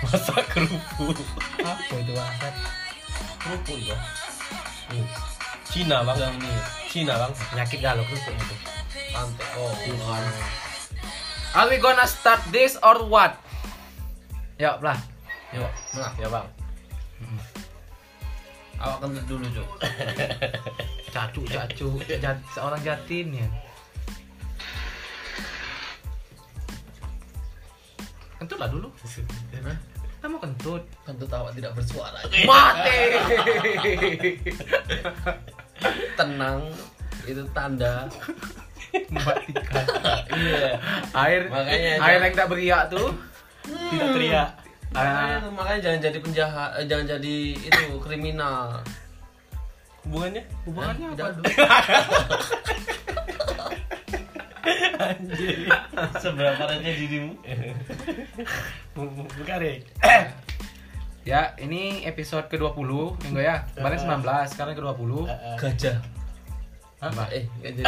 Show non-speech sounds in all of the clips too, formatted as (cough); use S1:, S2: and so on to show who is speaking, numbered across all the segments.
S1: masak kerupuk
S2: apa itu bangsat
S1: kerupuk itu
S2: Ih,
S1: Cina bang
S2: yang ini
S1: Cina bang
S2: penyakit galau kerupuk itu
S1: santai oh
S2: Tuhan
S3: Are we gonna start this or what? Yuk, lah. Yuk,
S2: nah
S3: ya bang. Awak kentut dulu Jo.
S2: cacu cacu
S3: Jo, jat- seorang jatin ya. Kentut lah dulu. Kita mau kentut.
S2: tentu tawa tidak bersuara
S3: Mati. (laughs)
S2: tenang itu tanda
S3: Mematikan.
S1: iya
S3: Air,
S2: Makanya,
S3: air
S2: Jo.
S3: yang tak beriak tuh. Ah,
S1: tidak teriak
S2: makanya, itu, makanya jangan jadi penjahat eh, jangan jadi itu kriminal
S1: hubungannya
S3: Hubungannya apa
S2: Tidak.
S3: dulu?
S1: anjir seberapa rajin dirimu bukan Rek.
S3: Ya, ini episode ke-20 Minggu ya. Kemarin
S2: Ah.
S3: 19, sekarang ke-20.
S2: gajah
S3: Apa?
S2: eh nggak jadi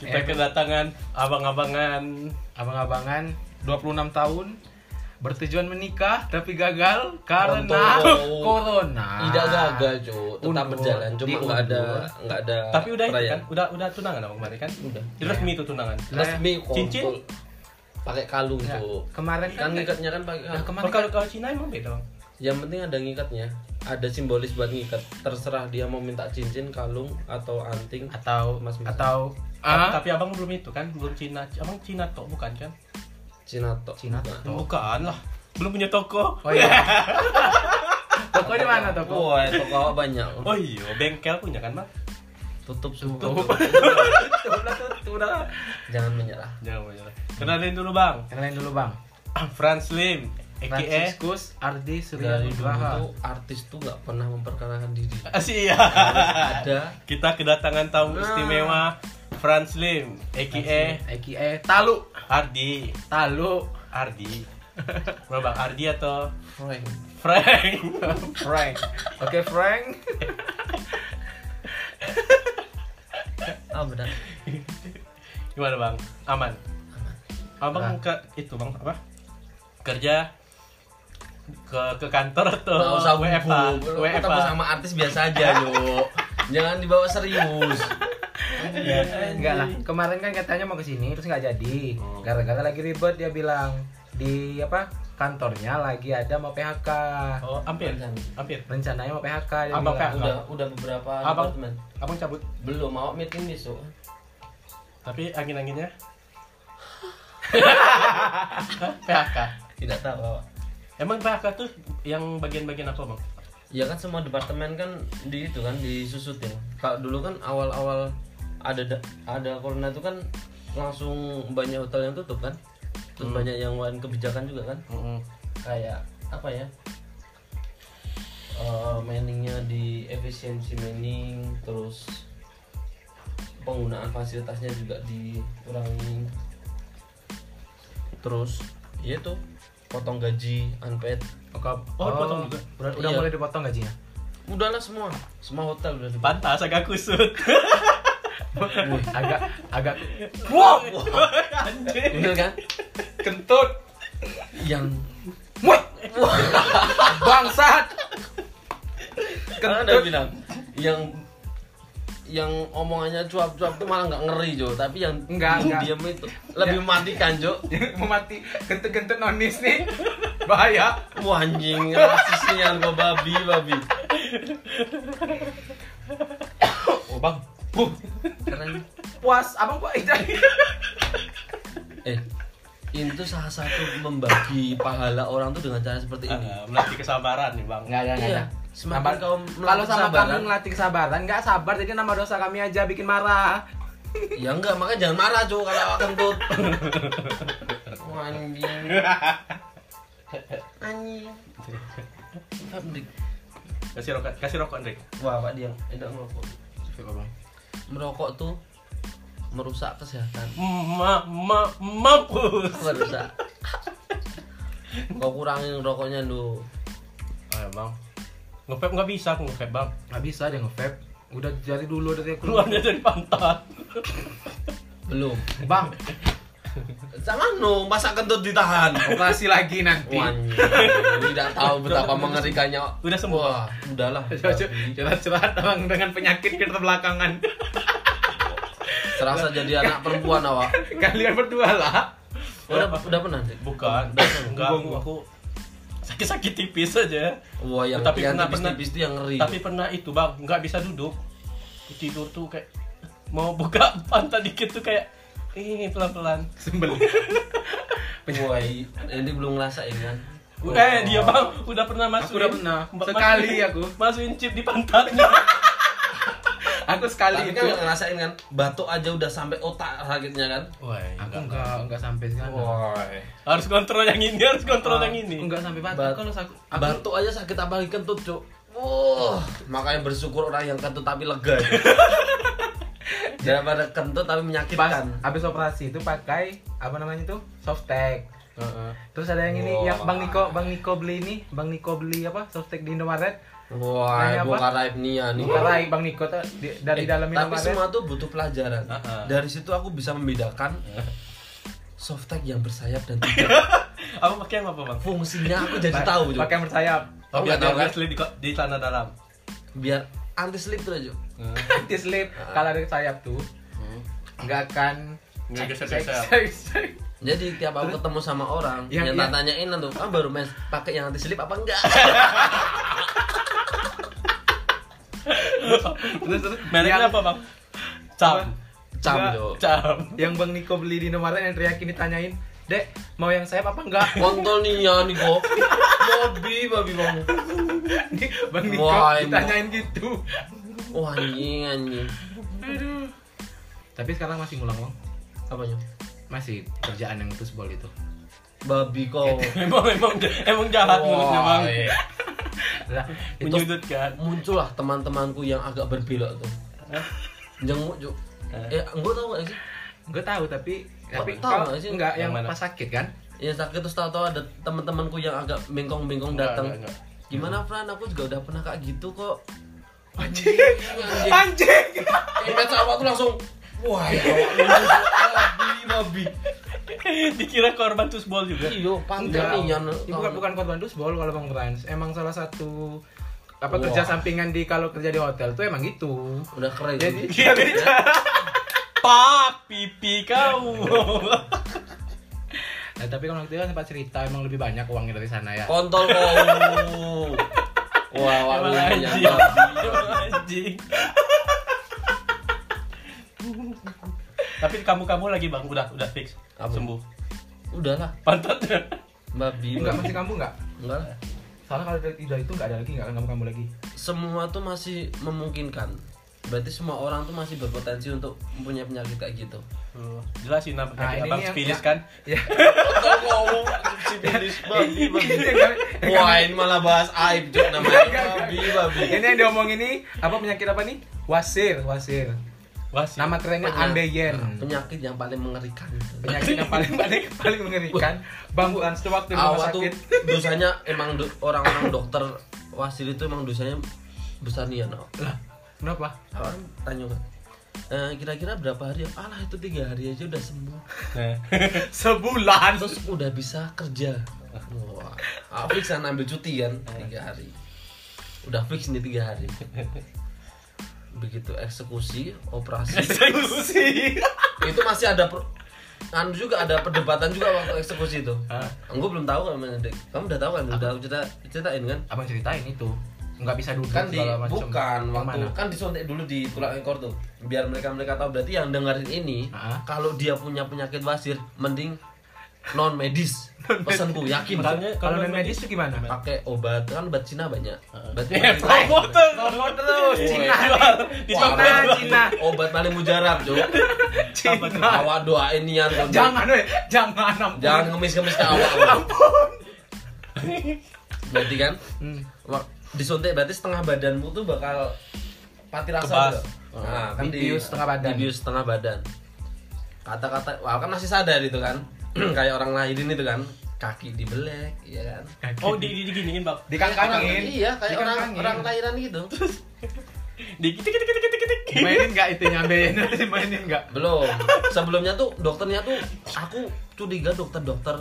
S1: kita kedatangan abang-abangan
S3: Abang-abangan 26 tahun bertujuan menikah tapi gagal
S2: Untung,
S3: karena
S2: Bro.
S3: (laughs) corona.
S2: tidak gagal cuk
S3: Ah.
S2: tetap
S3: Undur.
S2: berjalan cuma nggak ada nggak ada
S1: tapi udah itu
S2: Eh, perayaan.
S1: kan udah udah tunangan abang kemarin kan
S2: Udah.
S1: resmi itu tunangan
S2: resmi kok
S1: Cincin?
S2: Kok. pakai kalung
S3: Ya,
S2: cuk
S3: kemarin
S2: kan
S3: kan
S2: ngikatnya kan pakai
S3: Nah,
S2: kalung.
S3: kemarin
S1: kalau kalau Cina emang beda bang
S2: yang penting ada ngikatnya ada simbolis buat ngikat terserah dia mau minta cincin kalung atau anting
S3: atau
S2: Mas Mas.
S3: atau
S1: Tapi-
S3: ah
S1: tapi abang belum itu kan belum Cina abang Cina tok bukan kan
S2: Cina tok
S3: Cina
S2: Nah.
S3: Tok.
S1: bukan lah belum punya toko
S3: Oh
S2: (laughs)
S3: iya. toko di mana toko?
S2: Wah, toko awak banyak.
S1: (laughs) oh iya bengkel punya kan bang
S2: Tutup semua.
S3: Udah tutup udah.
S2: Jangan menyerah.
S1: jangan jangan kenalin dulu bang (clears throat)
S3: Yang lain dulu, Bang.
S1: Franz Lim aka (laughs)
S3: Franciscus Ardi Surya
S2: Dari E. Iya, dulu
S3: Nugraha.
S2: tuh artis tuh nggak pernah memperkenalkan
S3: (laughs)
S2: diri.
S1: Asia
S2: Ada
S1: Ah, iya. kita kedatangan tamu istimewa Franz Ah. Lim aka
S3: Aka E. Talu,
S1: Ardi
S3: Talu
S1: Ardi Bro bang Ardi atau
S2: Frank.
S1: Frank (laughs)
S3: Frank. Oke, Frank.
S2: Ah benar.
S1: gimana bang aman abang
S3: Aman.
S1: ke itu bang apa kerja ke ke kantor
S3: Oh,
S1: atau
S2: Nggak usah
S1: WFA
S2: gugup. Lu
S1: WFA
S2: Ketemu sama artis biasa aja yo. Jangan dibawa serius.
S3: Ya, enggak lah. Kemarin kan katanya mau ke sini terus nggak jadi. Gara-gara lagi ribet dia bilang di apa? Kantornya lagi ada mau PHK.
S1: oh hampir hampir
S3: Rencananya mau PHK dia
S1: Abang
S3: bilang.
S1: PHK.
S2: Udah udah beberapa
S1: Abang.
S2: departemen.
S1: abang cabut
S2: Belum mau meeting besok.
S1: tapi angin anginnya (laughs) PHK
S2: Tidak tahu awak.
S1: emang PHK tuh yang bagian-bagian apa bang
S2: Ya kan semua departemen kan di itu kan disusutin. Kalau dulu kan awal-awal ada da- ada corona itu kan langsung banyak hotel yang tutup kan. Terus banyak yang lain kebijakan juga kan. Kayak apa ya? Eh, manningnya di efisiensi manning terus penggunaan fasilitasnya juga dikurangi terus ya itu potong gaji unpaid
S3: Oh, kau-
S1: Oh, dipotong juga?
S3: Udah, udah
S2: Iya.
S3: mulai dipotong (laughs) gajinya.
S2: udahlah semua semua hotel udah dipotong.
S1: pantas agak (laughs) kusut
S3: agak agak
S1: wow anjir
S2: Bener kan?
S3: kentut.
S2: Yang
S3: Wah. (laughs) Bangsat.
S2: kan ada bilang yang yang omongannya cuap-cuap itu malah nggak ngeri Jo, tapi yang
S3: Nggak, nggak.
S2: diam itu lebih mematikan Jo.
S3: Mau mati kentut-kentut nonis nih. Bahaya.
S2: Wah anjing, rasisnya gua babi babi. Oh bang, Huh. keren.
S3: Puas, abang kok
S2: Eh, itu salah satu membagi pahala orang tuh dengan cara seperti ini.
S1: Ah, melatih kesabaran nih bang
S3: (laughs) Enggak, enggak,
S2: Iya,
S3: enggak.
S2: semakin
S3: Sabar.
S2: kau melatih
S3: Kalau sama
S2: kesabaran.
S3: kamu ngelatih kesabaran, enggak sabar jadi nama dosa kami aja bikin marah.
S2: Ya enggak, makanya jangan marah Jo kalau awak kentut. Wah, Anjing. Anjing. Pabrik.
S1: kasih rokok kasih rokok Rick
S2: Wah, Pak Diang, tidak merokok. Merokok tuh merusak kesehatan.
S1: ma ma mampus
S2: Merusak. Kau kurangin rokoknya lu.
S1: Ayo Oh, ya, bang Ngevap nggak bisa aku ngevap bang
S3: Enggak bisa dia nge-vape. Udah dari dulu dari aku.
S1: Keluarnya dari pantat
S2: Belum.
S3: Bang,
S2: Sama no, masa kentut ditahan.
S3: operasi lagi nanti
S2: Wanyi, tidak tahu betapa mengerikannya.
S1: Udah sembuh.
S2: Wah, (laughs) udahlah.
S3: curhat-curhat orang dengan penyakit kita belakangan
S2: Serasa jadi anak perempuan awak.
S3: kalian berdua lah
S2: Udah, udah pernah. Dik?
S1: Bukan, (laughs) udah, enggak aku,
S3: Gua-
S1: aku sakit-sakit tipis aja.
S2: Wah, yang
S1: Tapi
S2: yang
S1: pernah-
S2: tipis-tipis itu yang ngeri.
S1: Tapi pernah itu bang, nggak bisa duduk. Tidur tuh kayak mau buka (laughs) pantat dikit tuh kayak ini pelan-pelan.
S3: sembel
S2: Wah, i- ini belum ngerasain kan.
S1: U- Eh dia bang udah pernah masukin
S3: Oh. udah pernah.
S1: ma-
S3: Sekali
S1: masukin-
S3: aku.
S1: masukin chip di
S3: (laughs)
S1: pantatnya.
S3: aku sekali
S2: Tapi
S3: itu
S2: kan nggak ngerasain kan, batuk aja udah sampai otak sakitnya kan.
S1: Wah,
S3: aku enggak enggak sampai sana
S2: Oh. Wah.
S1: harus kontrol yang ini, harus kontrol yang ini.
S3: enggak sampai batuk
S2: Bat-
S3: kalau aku, aku
S2: Batuk aja sakit apalagi kentut, Cuk. Wah, makanya bersyukur orang yang kentut tapi lega. Cuk. (laughs) Daripada kentut tapi
S3: pas
S2: menyakitkan.
S3: habis operasi itu pakai apa namanya itu softtek terus ada yang ini
S2: Wah.
S3: yang bang Niko bang Niko beli ini bang Niko beli apa softtek di Indomaret Nanya
S2: Wah,
S3: apa?
S2: bukan ya, raib nia nih.
S3: Bukan lagi Bang Niko tuh di- dari
S2: Eh,
S3: dalam
S2: tapi
S3: Indomaret.
S2: semua tuh butuh pelajaran.
S1: Heeh.
S2: Dari situ aku bisa membedakan softtek yang bersayap dan (laughs) tidak.
S1: Aku pakai yang apa bang?
S2: Fungsinya aku
S3: Pa-
S2: jadi tahu, Cuk.
S3: Pakai yang bersayap.
S1: Tapi
S2: nggak
S1: ada
S2: tahu, kan?
S1: yang slip di, ko- di tanah dalam.
S2: Biar anti slip tuh, Cuk.
S3: (laughs) Di slip kalau ada sayap tuh Hmm. nggak ya? akan
S1: Nggak
S3: cek,
S1: geser-geser.
S3: cek, cek.
S2: Jadi tiap aku ketemu sama orang,
S3: Yang-
S2: yang,
S3: yang-
S2: tak tanyain tuh, ah baru main pakai yang anti slip apa enggak?
S3: (laughs) Terus terus
S1: Mereknya
S3: yang-
S1: apa bang? Cam,
S3: Apa?
S2: Cam,
S3: Enggak.
S2: Cuk.
S1: cam. (laughs)
S3: Yang Bang Niko beli di Indomaret yang teriakin ditanyain, "Dek, mau yang sayap apa enggak?" (laughs)
S2: Kontol nih ya nih kok. Babi babi bang.
S3: Ini Bang Niko
S2: Wah, emang.
S3: ditanyain gitu.
S2: Wah anjing anjing.
S3: Tapi sekarang masih ngulang, Bang.
S2: Apanya?
S3: Masih kerjaan yang tusbol itu.
S2: Babi kok.
S1: Emang emang emang jahat
S3: Oh,
S1: mulutnya bang.
S2: iya.
S3: Lah,
S2: Itu-
S1: (laughs) Menyudutkan.
S2: Muncullah teman-temanku yang agak berbelok tuh.
S1: Hah?
S2: Jenguk cuk. Eh, gue tau gak sih?
S3: gue tahu tapi
S2: Kok
S3: tapi
S2: tahu
S3: kalau
S2: nggak sih?
S3: enggak yang,
S1: Yang mana?
S3: pas sakit kan?
S2: Yang sakit terus tau-tau ada teman-temanku yang agak bengkong-bengkong
S1: Enggak,
S2: datang.
S1: enggak, enggak.
S2: Gimana Fran? Aku juga udah pernah kayak gitu kok.
S3: Anjing.
S2: Anjing.
S3: Anjing.
S2: Image awak tuh langsung wah ya Allah, babi babi.
S1: (laughs) Dikira korban tusbol juga.
S2: Iyo, pantai
S3: Iya, Enggak,
S2: Iya, nih Yan.
S3: ini bukan bukan korban dusbol kalau Bang Trans. Emang salah satu apa
S2: Wah.
S3: kerja sampingan di kalau kerja di hotel tuh emang gitu.
S2: udah keren.
S3: Iya, Jadi
S2: Jadi
S3: dia (laughs) beda.
S1: Pak, pipi kau.
S3: Nah, tapi kalau waktu itu kan sempat cerita emang lebih banyak uangnya dari sana ya.
S2: kontol kau. Wah, wah,
S1: Emang
S2: wah,
S1: anjing.
S2: nyata.
S1: Emang anjing. Tapi kamu kamu lagi bang, udah udah fix
S2: Apa?
S1: sembuh.
S2: Udahlah,
S1: Pantatnya.
S2: babi.
S3: Enggak
S2: babi.
S3: masih kamu enggak?
S2: Enggak lah.
S3: Soalnya kalau dari tidak itu enggak ada lagi enggak akan kamu kamu lagi.
S2: Semua tuh masih memungkinkan. Berarti semua orang tuh masih berpotensi untuk mempunyai penyakit kayak gitu.
S1: Tuh, Jelasin apa
S3: Nah,
S1: tadi
S3: ini
S1: abang
S3: yang-
S1: spilis
S3: ya.
S1: kan?
S3: Ya. (laughs) oh,
S2: Kontol kau, sipilis babi babi. Wah, ini malah bahas aib Jok, namanya babi babi.
S3: Ini yang diomong ini apa penyakit apa nih? Wasir, wasir.
S1: Wah, sih.
S3: Nama kerennya Andeyen.
S2: Penyakit yang paling mengerikan.
S3: Penyakit yang paling paling paling mengerikan. Bang Trans tuh waktu di rumah
S2: awal tuh
S3: sakit.
S2: dosanya emang do- orang-orang dokter wasil itu emang dosanya besar nih ya no.
S3: Lah, kenapa?
S2: Awal tanya kan "Eh, kira-kira berapa hari alah itu tiga hari aja udah sembuh
S1: Nah.
S3: Sebulan.
S2: terus udah bisa kerja wah ah, fix kan ambil cuti kan tiga hari udah fix nih tiga hari begitu eksekusi operasi
S1: (laughs) Eksekusi.
S2: itu masih ada pro- anu juga ada perdebatan juga waktu eksekusi itu
S1: Hah?
S2: gue belum tahu kan men. kamu udah tahu kan udah aku cerita ceritain kan
S3: Abang ceritain itu. Enggak bisa duduk
S2: kan di
S3: segala macam.
S2: bukan waktu
S3: Kemana?
S2: kan disuntik dulu di tulang ekor tuh biar mereka mereka tahu berarti yang dengerin ini
S3: Ah.
S2: kalau dia punya penyakit wasir mending non
S3: (laughs)
S2: medis pesanku yakin
S1: Makanya kalau
S3: Kalau non
S1: medis
S3: medis itu gimana?
S2: pakai obat kan obat Cina banyak berarti
S1: Eh,
S3: Iya, (laughs)
S1: promo terus.
S3: Promo terus Cina.
S1: Dijual, dijual.
S3: Cina, Cina.
S2: obat paling mujarab
S3: (laughs)
S2: cuy
S1: Apa tuh?
S3: Cina.
S2: awak doain nian kok, Cuk.
S3: Jangan weh, jangan ampun.
S2: jangan ngemis ngemis ke awak Cuk. berarti kan
S3: Hmm.
S2: wak- disuntik berarti setengah badanmu tuh bakal pati
S1: Kebas.
S2: rasa tuh. Nah, kan di-
S3: Dibius setengah badan.
S2: dibius setengah badan. Kata-kata, wah kan masih sadar itu kan. (clears throat) Kayak orang lahirin itu kan, kaki dibelek, ya kan.
S1: Oh, di di diginiin bang.
S3: Kan dikangkangin.
S2: Orang- Iya, kayak orang
S3: Dikangkangin.
S2: orang lahiran gitu.
S1: Dikit dikit dikit dikit dikit.
S3: Mainin nggak itu (laughs) nyambein mainin nggak?
S2: belum sebelumnya tuh dokternya tuh aku curiga dokter dokter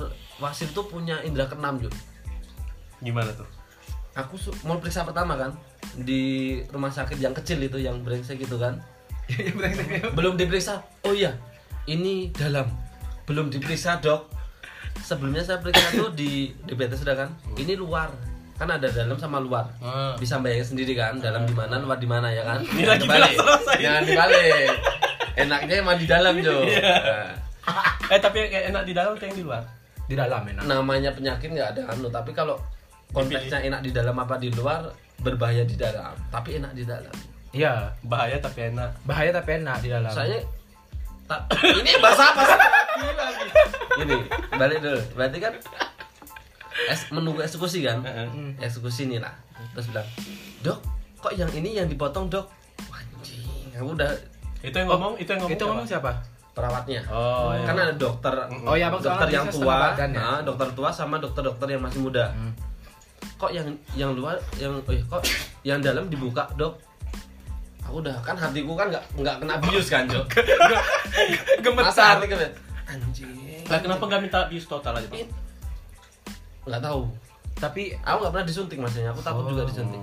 S2: wasit tuh punya indera keenam Jun
S1: Gimana tuh?
S2: aku su- mau periksa pertama kan di rumah sakit yang kecil itu yang brengsek gitu kan
S3: Iya, brengsek ya.
S2: belum diperiksa oh iya ini dalam belum diperiksa dok sebelumnya saya periksa tuh di diabetes sudah kan ini luar kan ada dalam sama luar
S1: Hmm.
S2: bisa bayangin sendiri kan dalam di mana luar di mana ya kan
S1: Ini lagi jelas selesai.
S2: jangan dibalik enaknya emang di dalam jo Nah,
S1: Eh tapi kayak enak di dalam atau yang di luar?
S3: Di dalam enak.
S2: Nah, namanya penyakit nggak ada anu tapi kalau konteksnya enak di dalam apa di luar berbahaya di dalam tapi enak di dalam
S3: Iya,
S1: Bahaya tapi enak.
S3: bahaya tapi enak di dalam.
S2: saya ta- (coughs) ini bahasa apa sih Lagi, lagi. ini balik dulu berarti kan es, menunggu eksekusi kan
S1: Heeh.
S2: eksekusi nih lah terus bilang dok kok yang ini yang dipotong dok anjing aku udah
S1: Itu yang ngomong, itu yang ngomong.
S3: Oh, itu ngomong
S1: siapa?
S3: siapa?
S2: perawatnya
S1: Oh, iya.
S2: kan ada dokter
S3: Oh iya, Bang,
S2: dokter
S3: soalnya
S2: yang
S3: bisa
S2: tua
S3: setengah badan ya. Hmm.
S2: nah, dokter tua sama dokter dokter yang masih muda kok yang yang luar yang eh, kok yang dalam dibuka dok aku udah kan hatiku kan nggak nggak kena bius kan Jo masa hati kena anjing
S1: Lah kenapa nggak minta bius total aja, Bang?
S2: nggak tahu
S3: Tapi
S2: aku nggak pernah disuntik maksudnya aku takut juga disuntik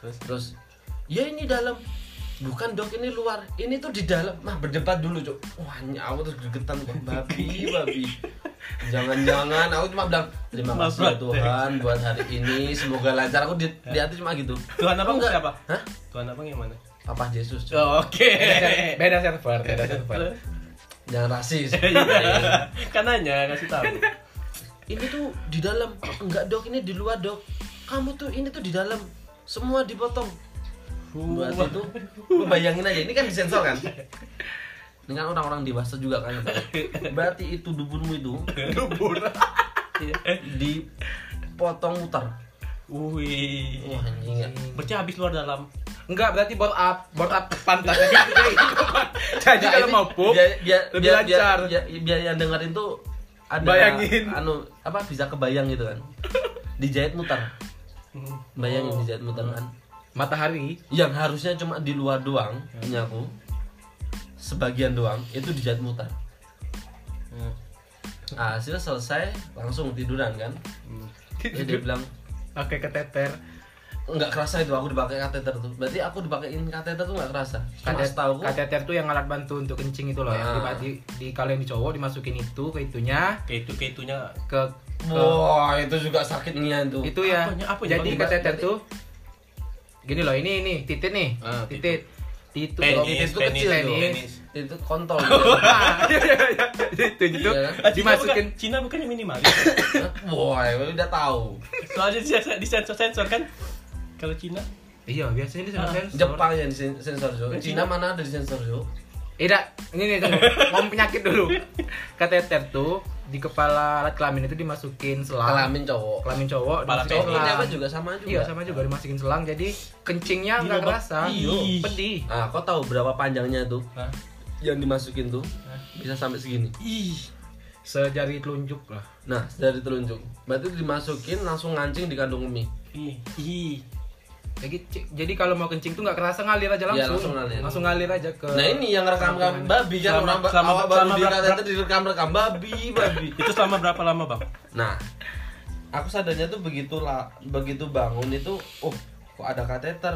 S1: Terus
S2: Oh. terus ya ini dalam bukan dok ini luar ini tuh di dalam mah berdebat dulu cok wah ny- aku terus gregetan kok babi (laughs) babi jangan-jangan aku cuma bilang terima
S1: Mas
S2: kasih ya
S1: Bro,
S2: Tuhan buat hari ini semoga lancar aku di, di hati cuma gitu
S1: Tuhan abang
S2: Enggak.
S1: siapa?
S2: Hah?
S1: Tuhan abang yang mana?
S2: Papa Yesus cok
S1: Oh, Oke. (laughs)
S3: beda server, beda server.
S1: Terus?
S2: jangan (laughs) rasis
S1: (laughs)
S2: iya.
S1: kan nanya kasih tahu.
S2: ini tuh di dalam enggak dok ini di luar dok kamu tuh ini tuh di dalam semua dipotong buat itu lu bayangin aja ini kan disensor kan ini kan orang-orang dewasa juga kan berarti itu dubunmu itu
S1: Dubur.
S2: dipotong muter
S1: Wih.
S2: wah anjing ya.
S1: Berarti habis luar dalam.
S3: Enggak, berarti board up, board up pantat. (laughs) Jadi
S2: Nah,
S3: kalau
S2: ini
S3: mau pup,
S2: biar biar
S3: lebih
S2: biar, biar,
S3: lancar.
S2: biar- biar yang dengerin tuh ada
S3: Bayangin.
S2: anu apa bisa kebayang gitu kan dijahit muter
S1: hmm,
S3: Oh.
S2: bayangin dijahit muter kan
S3: Matahari
S2: yang harusnya cuma di luar doang punya aku sebagian doang itu dijahit muter nah, hasil selesai langsung tiduran kan Jadi dia bilang
S3: pakai keteter.
S2: nggak kerasa itu aku dipakai kateter tuh berarti aku dipakein kateter tuh nggak kerasa karena setahu aku
S3: Kateter tuh yang alat bantu untuk kencing itu loh ya.
S2: Ah.
S3: Di, di, kalau yang di cowok dimasukin itu ke itunya
S1: Kayak itu kayak itunya.
S3: ke
S2: wah itu juga sakitnya itu
S3: itu ya.
S1: Apanya- apanya?
S3: Jadi
S1: Bang?
S3: keteter
S2: Berarti-
S3: tuh gini loh, ini ini titik nih.
S1: Ah,
S3: titik. Titik
S1: Penis,
S2: itu gitu kecil
S1: penis,
S2: tuh.
S1: penis.
S2: itu kontol
S3: (laughs)
S2: gitu.
S3: Ah, iya, iya, iya, iya, itu itu
S2: Iya.
S1: Ah, Cina
S3: dimasukin
S1: bukan- Cina bukannya minimal. (laughs)
S2: wah ya udah tahu
S1: Soalnya di- di sensor-sensor kan. Kalau Cina
S3: iya biasanya dia sama
S1: Ah.
S3: sensor
S2: Jepang yang sensor Jo Cina
S1: Cina.
S2: mana ada di sensor Jo
S3: tidak Iya, ini nih tunggu ngomong penyakit dulu kateter tuh di kepala alat kelamin itu dimasukin selang
S2: kelamin cowok
S3: Ah. kelamin cowok
S1: Kepala
S3: dimasukin
S2: cowok
S1: Penis.
S2: ini apa
S3: selang
S2: juga sama juga
S3: iya sama juga dimasukin selang jadi kencingnya nggak
S1: Dilobak.
S3: kerasa
S1: Iya.
S3: pedih
S2: ah kau tahu berapa panjangnya tuh
S1: Hah?
S2: yang dimasukin tuh bisa sampai segini
S1: Ih,
S3: sejari telunjuk lah
S2: nah dari telunjuk berarti dimasukin langsung ngancing di kandung mie
S1: ih, ih.
S3: jadi c- jadi kalau mau kencing tuh nggak kerasa ngalir aja
S2: Iya,
S3: langsung
S2: langsung ngalir.
S3: langsung ngalir aja ke
S1: Eh,
S2: Nah ini yang rekam rekam babi kan
S1: Selama-
S2: orang ba-
S1: selama-
S2: awak baru
S1: selama
S2: di
S1: berak-
S2: kata di rekam rekam babi babi.
S1: Itu selama berapa lama, Bang?
S2: Nah aku sadarnya tuh begitu lah begitu bangun itu oh kok ada kateter.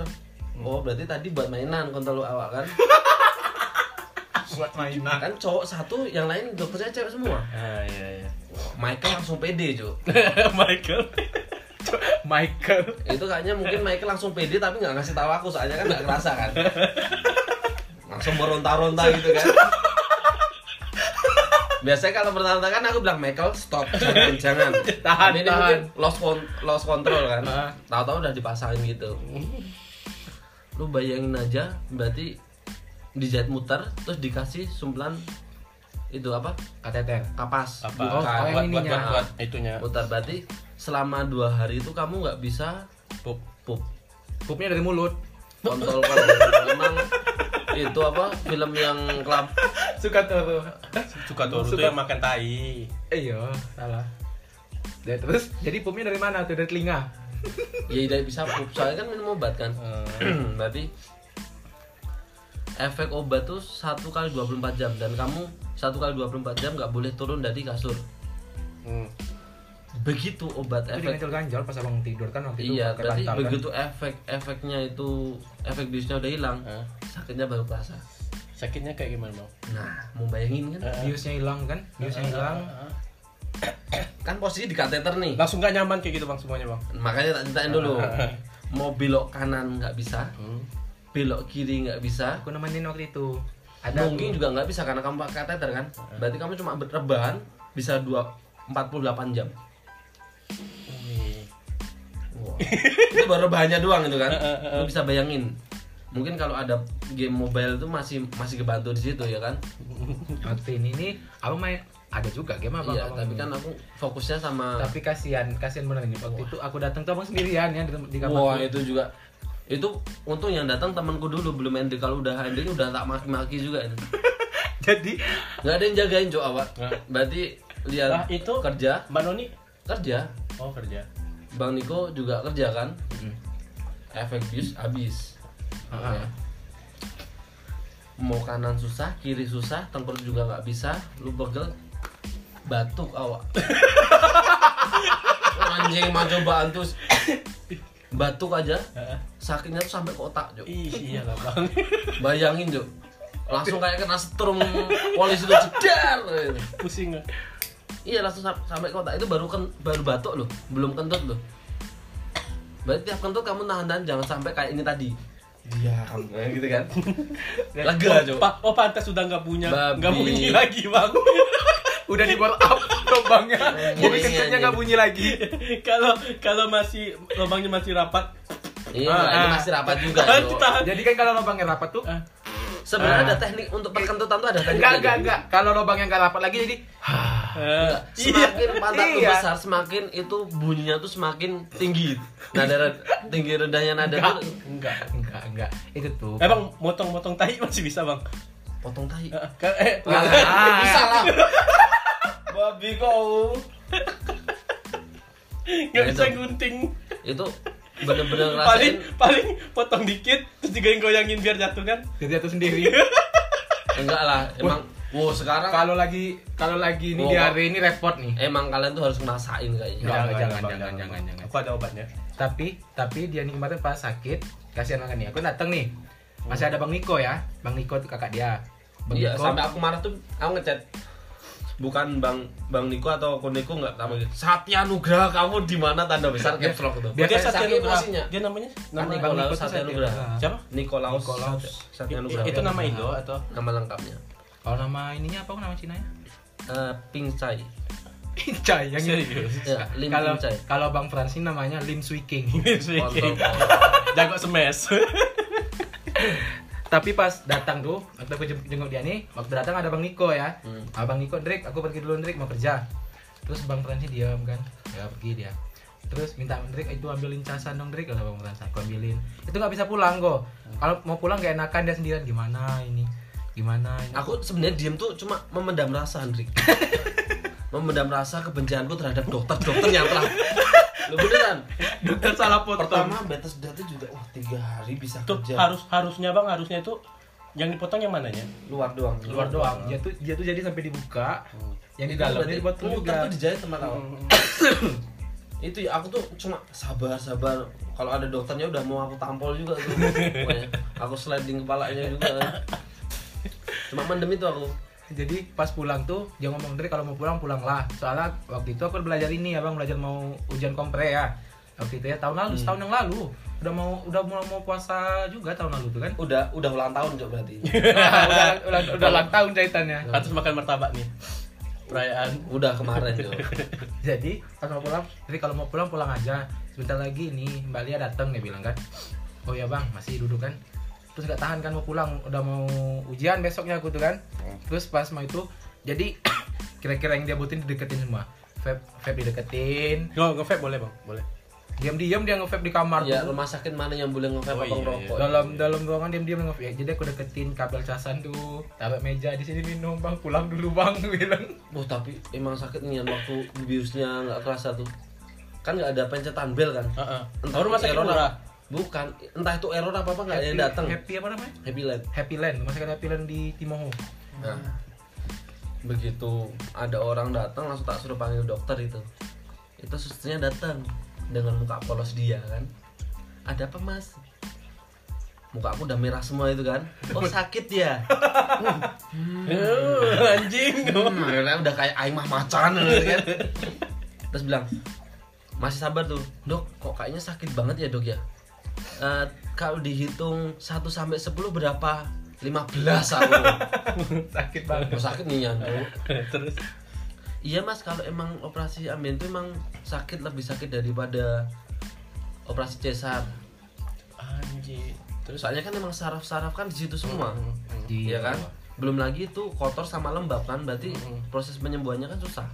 S2: Oh berarti tadi buat mainan kontol awak kan?
S1: (laughs) Buat mainan.
S2: Kan cowok satu yang lain dokternya cewek semua.
S1: Ah, iya, iya.
S2: Michael langsung pede Jo.
S1: (laughs) Michael.
S3: Michael
S2: Itu kayaknya mungkin Michael langsung pede tapi nggak ngasih tahu aku soalnya kan nggak kerasa kan. Langsung meronta-ronta gitu kan. Biasanya kalau beronta kan aku bilang Michael stop jangan jangan
S3: (laughs) Tahan,
S2: Ini
S3: tahan.
S2: mungkin lost con- lost control kan.
S3: Ah.
S2: Tahu-tahu udah dipasangin gitu. Lu bayangin aja berarti dijahit muter terus dikasih sumpelan itu apa
S3: kateter
S2: kapas
S1: Apa?
S3: Oh,
S2: Bukan.
S1: buat,
S3: yang
S1: buat,
S3: ininya.
S1: buat, buat, itunya.
S2: muter berarti selama dua hari itu kamu nggak bisa
S1: Pup.
S2: pup
S3: pupnya dari mulut (laughs)
S2: kontol kontol emang itu apa film yang kelab
S3: suka tuh
S1: Suka Toru tuh
S3: Suka-
S1: yang makan tai.
S3: iya salah ya, terus jadi pupnya dari mana tuh dari telinga Hmm.
S2: (clears throat) ya tidak bisa pup soalnya kan minum obat kan
S1: Eh,
S2: berarti efek obat tuh satu kali 24 jam dan kamu satu kali 24 jam nggak boleh turun dari kasur.
S1: Hmm.
S2: Begitu obat
S3: Itu
S2: efek
S3: dimetil ganjol pas abang tidur kan waktu itu
S2: Iya,
S3: pakai
S2: berarti
S3: bantal kan.
S2: begitu efek-efeknya itu efek biusnya udah hilang,
S1: Hah?
S2: sakitnya baru kerasa.
S1: Sakitnya kayak gimana bang?
S2: Nah, mau bayangin kan?
S1: Heeh.
S3: Biusnya hilang kan? Biusnya
S2: Iya.
S3: hilang.
S1: Heeh.
S2: Kan posisi di kateter nih.
S1: Langsung gak nyaman kayak gitu bang semuanya bang.
S2: Makanya tak ceritain dulu. Mau belok kanan nggak bisa,
S1: Hmm.
S2: belok kiri nggak bisa.
S3: Aku nemenin waktu itu. Ada Iya.
S2: Mungkin juga nggak bisa karena kamu pakai kateter kan. Berarti kamu cuma berrebahan bisa 2 48 jam. Wow. itu baru bahannya doang itu
S3: (laughs)
S2: kan lu bisa bayangin mungkin kalau ada game mobile itu masih masih kebantu di situ ya kan
S3: waktu ini nih abang main ada juga game abang.
S2: iya
S3: abang
S2: tapi
S3: ini.
S2: kan aku fokusnya sama
S3: tapi kasihan kasihan bener ini waktu itu aku datang tuh abang sendirian ya di, di kamar
S2: wah itu juga itu untung yang datang temanku dulu belum ending kalau udah ending udah tak maki-maki
S3: (laughs)
S2: juga ini
S3: jadi
S2: nggak ada yang jagain cok awak berarti lihat
S1: Nah, itu-
S2: kerja
S1: Mbak Noni?
S2: kerja
S1: Oh kerja.
S2: bang Niko juga kerja kan efek bius habis
S3: Ah.
S2: Ya. mau kanan susah kiri susah tengkurap juga nggak bisa lu pegel batuk awak anjing mah cobaan tuh batuk aja
S1: Heeh.
S2: sakitnya tuh sampai ke otak Jok.
S1: Ih iya lah bang. (laughs)
S2: bayangin Jok. langsung kayak kena setrum polisi tuh jedar gitu.
S1: Pusing. nggak?
S2: Iya langsung sam- sampai ke otak itu baru ken baru batuk loh, belum kentut loh. Berarti tiap kentut kamu nahan-nahan jangan sampai kayak ini tadi.
S3: Iya,
S2: Diam,
S3: eh,
S2: nah, gitu (laughs) kan? Lega coba.
S1: Pa- oh pantas sudah nggak punya
S2: Babi.
S1: nggak bunyi lagi bang. (laughs)
S3: udah di ball up
S2: (laughs)
S3: lubangnya jadi
S2: Anjing,
S3: kentutnya nggak
S2: anjing.
S3: bunyi lagi
S1: Kalau kalau masih lubangnya masih rapat.
S2: Iya,
S3: Ah,
S2: ini
S3: ah.
S2: masih rapat juga.
S3: (laughs)
S2: Jo.
S1: Tahan.
S3: jadi kan kalau lubangnya rapat tuh
S1: Ah.
S3: Ah.
S2: Sebenarnya ada teknik untuk perkentutan tuh ada teknik.
S3: enggak enggak enggak kalau lubangnya nggak rapat lagi jadi
S1: Eh, iya.
S2: Semakin pantat lu
S3: Iya.
S2: besar, semakin itu bunyinya tuh semakin tinggi. Nada red- tinggi rendahnya nada
S3: Enggak.
S2: tuh
S1: Enggak.
S3: enggak enggak itu tuh
S1: Eh bang, motong-motong tai masih bisa bang.
S2: potong tahi.
S1: Eh, ka- eh,
S3: Ah.
S2: (laughs) Bisa lah. Babi kau.
S1: (laughs) nggak bisa gunting.
S2: Itu bener-bener
S1: Paling
S2: ngerasain
S1: paling potong dikit terus digoyang-goyangin biar jatuh kan.
S3: jadi jatuh sendiri
S2: Enggak lah, emang wow sekarang
S3: kalau lagi kalau lagi ini
S2: Wow.
S3: diare ini repot nih
S2: emang kalian tuh harus ngerasain
S3: Jangan,
S2: kayaknya.
S1: Nggak,
S3: jangan,
S1: nggak,
S3: jangan,
S1: nggak,
S3: jangan,
S1: nggak.
S3: jangan.
S1: Aku ada obatnya.
S3: tapi tapi dia nih kemarin pas sakit kasihan banget nih aku datang nih masih ada bang Niko ya bang Niko tuh kakak dia bang
S2: Hmm. Iya,
S3: Niko
S2: sampai aku marah tuh aku ngechat bukan Bang Bang Niko atau Ko Niko enggak tahu. Satya Nugraha kamu di mana tanda besar caps lock itu.
S3: Biasanya
S1: Dia Satya Kan
S2: saking
S1: Nugraha.
S2: emosinya.
S1: Dia namanya?
S2: Nama
S3: Bang
S2: Nikolaus
S3: Niko tuh
S2: Satya
S3: Satya
S2: Nugraha.
S3: Nugraha.
S1: Siapa?
S2: Nikolaus
S3: Nikolaus.
S2: Satya
S1: I-
S2: Nugraha.
S1: itu nama Indo atau?
S2: nama lengkapnya.
S3: kalau nama ininya apa nama Cina ya
S2: Eh Ping Chai.
S3: Pincai yang
S1: Serius.
S2: Ya, Lim
S3: kalau
S2: Ping Chai.
S3: kalau Bang Fransin namanya Lim Swee King.
S1: (laughs)
S2: Kontol.
S1: Iya. Jago semes.
S3: Tapi pas datang tuh, waktu aku jem- jenguk dia nih, waktu datang ada Bang Niko ya.
S2: Hmm.
S3: Abang Niko, Drake, aku pergi dulu Drake mau kerja. Terus Bang Fransin diam kan, ya pergi dia. Terus minta Drake itu ambilin casan dong Drake kalau Bang Fransin aku ambilin. Itu nggak bisa pulang kok. Kalau mau pulang gak enakan dia sendirian gimana ini? Gimana ini?
S2: Aku sebenarnya diem tuh cuma memendam rasa, Hendrik. memendam rasa kebencianku terhadap dokter-dokter yang telah Lu beneran?
S3: Dokter salah
S2: Pertama Bethesda tuh juga wah tiga hari bisa
S1: Tuh
S2: kerja
S1: harus harusnya bang harusnya itu yang dipotong yang mananya?
S2: luar doang. Oh.
S3: Luar doang. Dia tuh dia tuh jadi sampai dibuka. Yang di
S2: Itu
S3: dalam
S2: berarti
S3: dia dipotong
S2: muter
S3: juga.
S2: tuh dijahit sama kawan. (coughs) itu ya aku tuh cuma sabar sabar kalau ada dokternya udah mau aku tampol juga tuh Pokoknya aku sliding kepalanya juga cuma mendem itu aku
S3: jadi pas pulang tuh dia ngomong Dre kalau mau pulang pulanglah soalnya waktu itu aku belajar ini ya bang belajar mau ujian kompre ya waktu itu ya tahun lalu setahun yang lalu udah mau udah mau mau puasa juga tahun lalu tuh
S2: (laughs)
S3: kan
S2: udah udah ulang tahun cok berarti
S3: udah udah udah, udah ulang tahun jahitannya
S1: Harus makan martabak nih. Perayaan.
S2: udah kemarin cok
S3: jadi pas mau pulang Dre kalau mau pulang pulang aja sebentar lagi ini Mbak Lia datang dia bilang kan oh ya bang masih duduk kan terus nggak tahan kan mau pulang udah mau ujian besoknya aku tuh kan terus pas mau itu jadi (clears throat) kira-kira yang dia butuhin dideketin semua vape vape dideketin
S1: Nggak nge boleh bang, boleh.
S3: diam-diam dia nge-vape di kamar
S2: ya
S3: tuh.
S2: rumah sakit mana yang boleh ngevape
S1: Oh,
S2: abang
S1: iya,
S2: rokok
S3: dalam dalam ruangan diam-diam nge vape jadi aku deketin kabel casan tuh taruh meja di sini minum bang pulang dulu bang (laughs) Aku bilang
S2: Wah tapi emang sakit nih yang waktu biusnya nggak kerasa tuh kan nggak ada pencetan bel kan
S1: Heeh.
S2: Entah
S1: Tahu Oh, rumah sakit
S2: error
S1: murah.
S2: lah. bukan entah itu error apa apa nggak ada yang
S3: Happy-
S2: datang
S3: Happy apa namanya?
S2: happy land
S3: Happy Land, masakan Happy Land di Timoho.
S2: nah begitu ada orang datang langsung tak suruh panggil dokter itu itu susternya datang dengan muka polos dia kan ada apa mas muka aku udah merah semua itu kan oh sakit ya
S1: Eh, (laughs) anjing
S2: Hmm, akhirnya udah kayak aing mah macan gitu kan. Terus bilang, masih sabar tuh, dok kok kayaknya sakit banget ya dok ya. Eh, kalau dihitung 1 sampai 10 berapa? 15 aku.
S3: (laughs) Sakit banget.
S2: Mau sakit nih ya. Dok.
S1: terus
S2: Iya mas, kalau emang operasi amben itu emang sakit lebih sakit daripada operasi cesar.
S1: anjing terus
S2: Soalnya kan emang saraf-saraf kan di situ semua.
S3: Iya
S2: Iya kan? Belum lagi itu kotor sama lembab kan, berarti
S1: Mm-mm.
S2: proses penyembuhannya kan susah.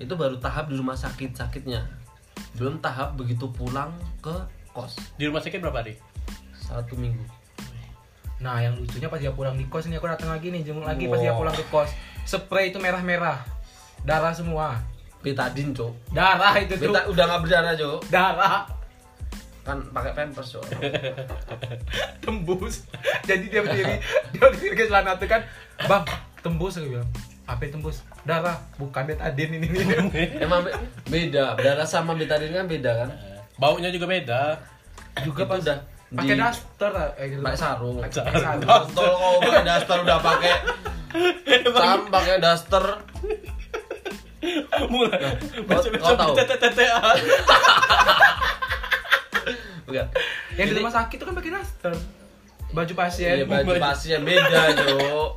S2: Itu baru tahap di rumah sakit sakitnya. Belum tahap begitu pulang ke kos
S1: di rumah sakit berapa hari (laughs)
S2: satu minggu.
S3: Nah, yang lucunya pas dia pulang di kos ini aku datang lagi nih, jenguk lagi pas dia
S2: Wow.
S3: pulang ke kos. Spray itu merah-merah. Darah semua.
S2: Betadin cok.
S3: Darah itu tuh.
S2: Beta udah nggak berdarah cok.
S3: Darah (laughs)
S2: Kan pakai pampers cok.
S3: tembus. (laughs) Jadi dia
S2: (laughs)
S3: berdiri, dia berdiri ke celana tuh kan, "Bang, tembus," aku bilang. Apa yang tembus? Darah, bukan betadin ini. ini.
S2: Emang be- beda, berdarah sama betadin kan beda kan.
S1: Eh, baunya juga beda (laughs)
S2: Juga
S3: pas-
S2: udah
S3: Pakai
S2: di-
S3: daster, eh, gitu.
S2: pakai sarung.
S3: Pakai sarung.
S2: Kontol kau pakai daster udah pakai sam pakai daster.
S1: mulai
S2: kau tahu?
S1: macam-macam TTTA
S2: Enggak.
S3: Yang di
S2: Jadi-
S3: rumah sakit tuh kan pakai daster. Baju
S2: Iya
S3: pasien.
S2: baju pasien beda Cuk.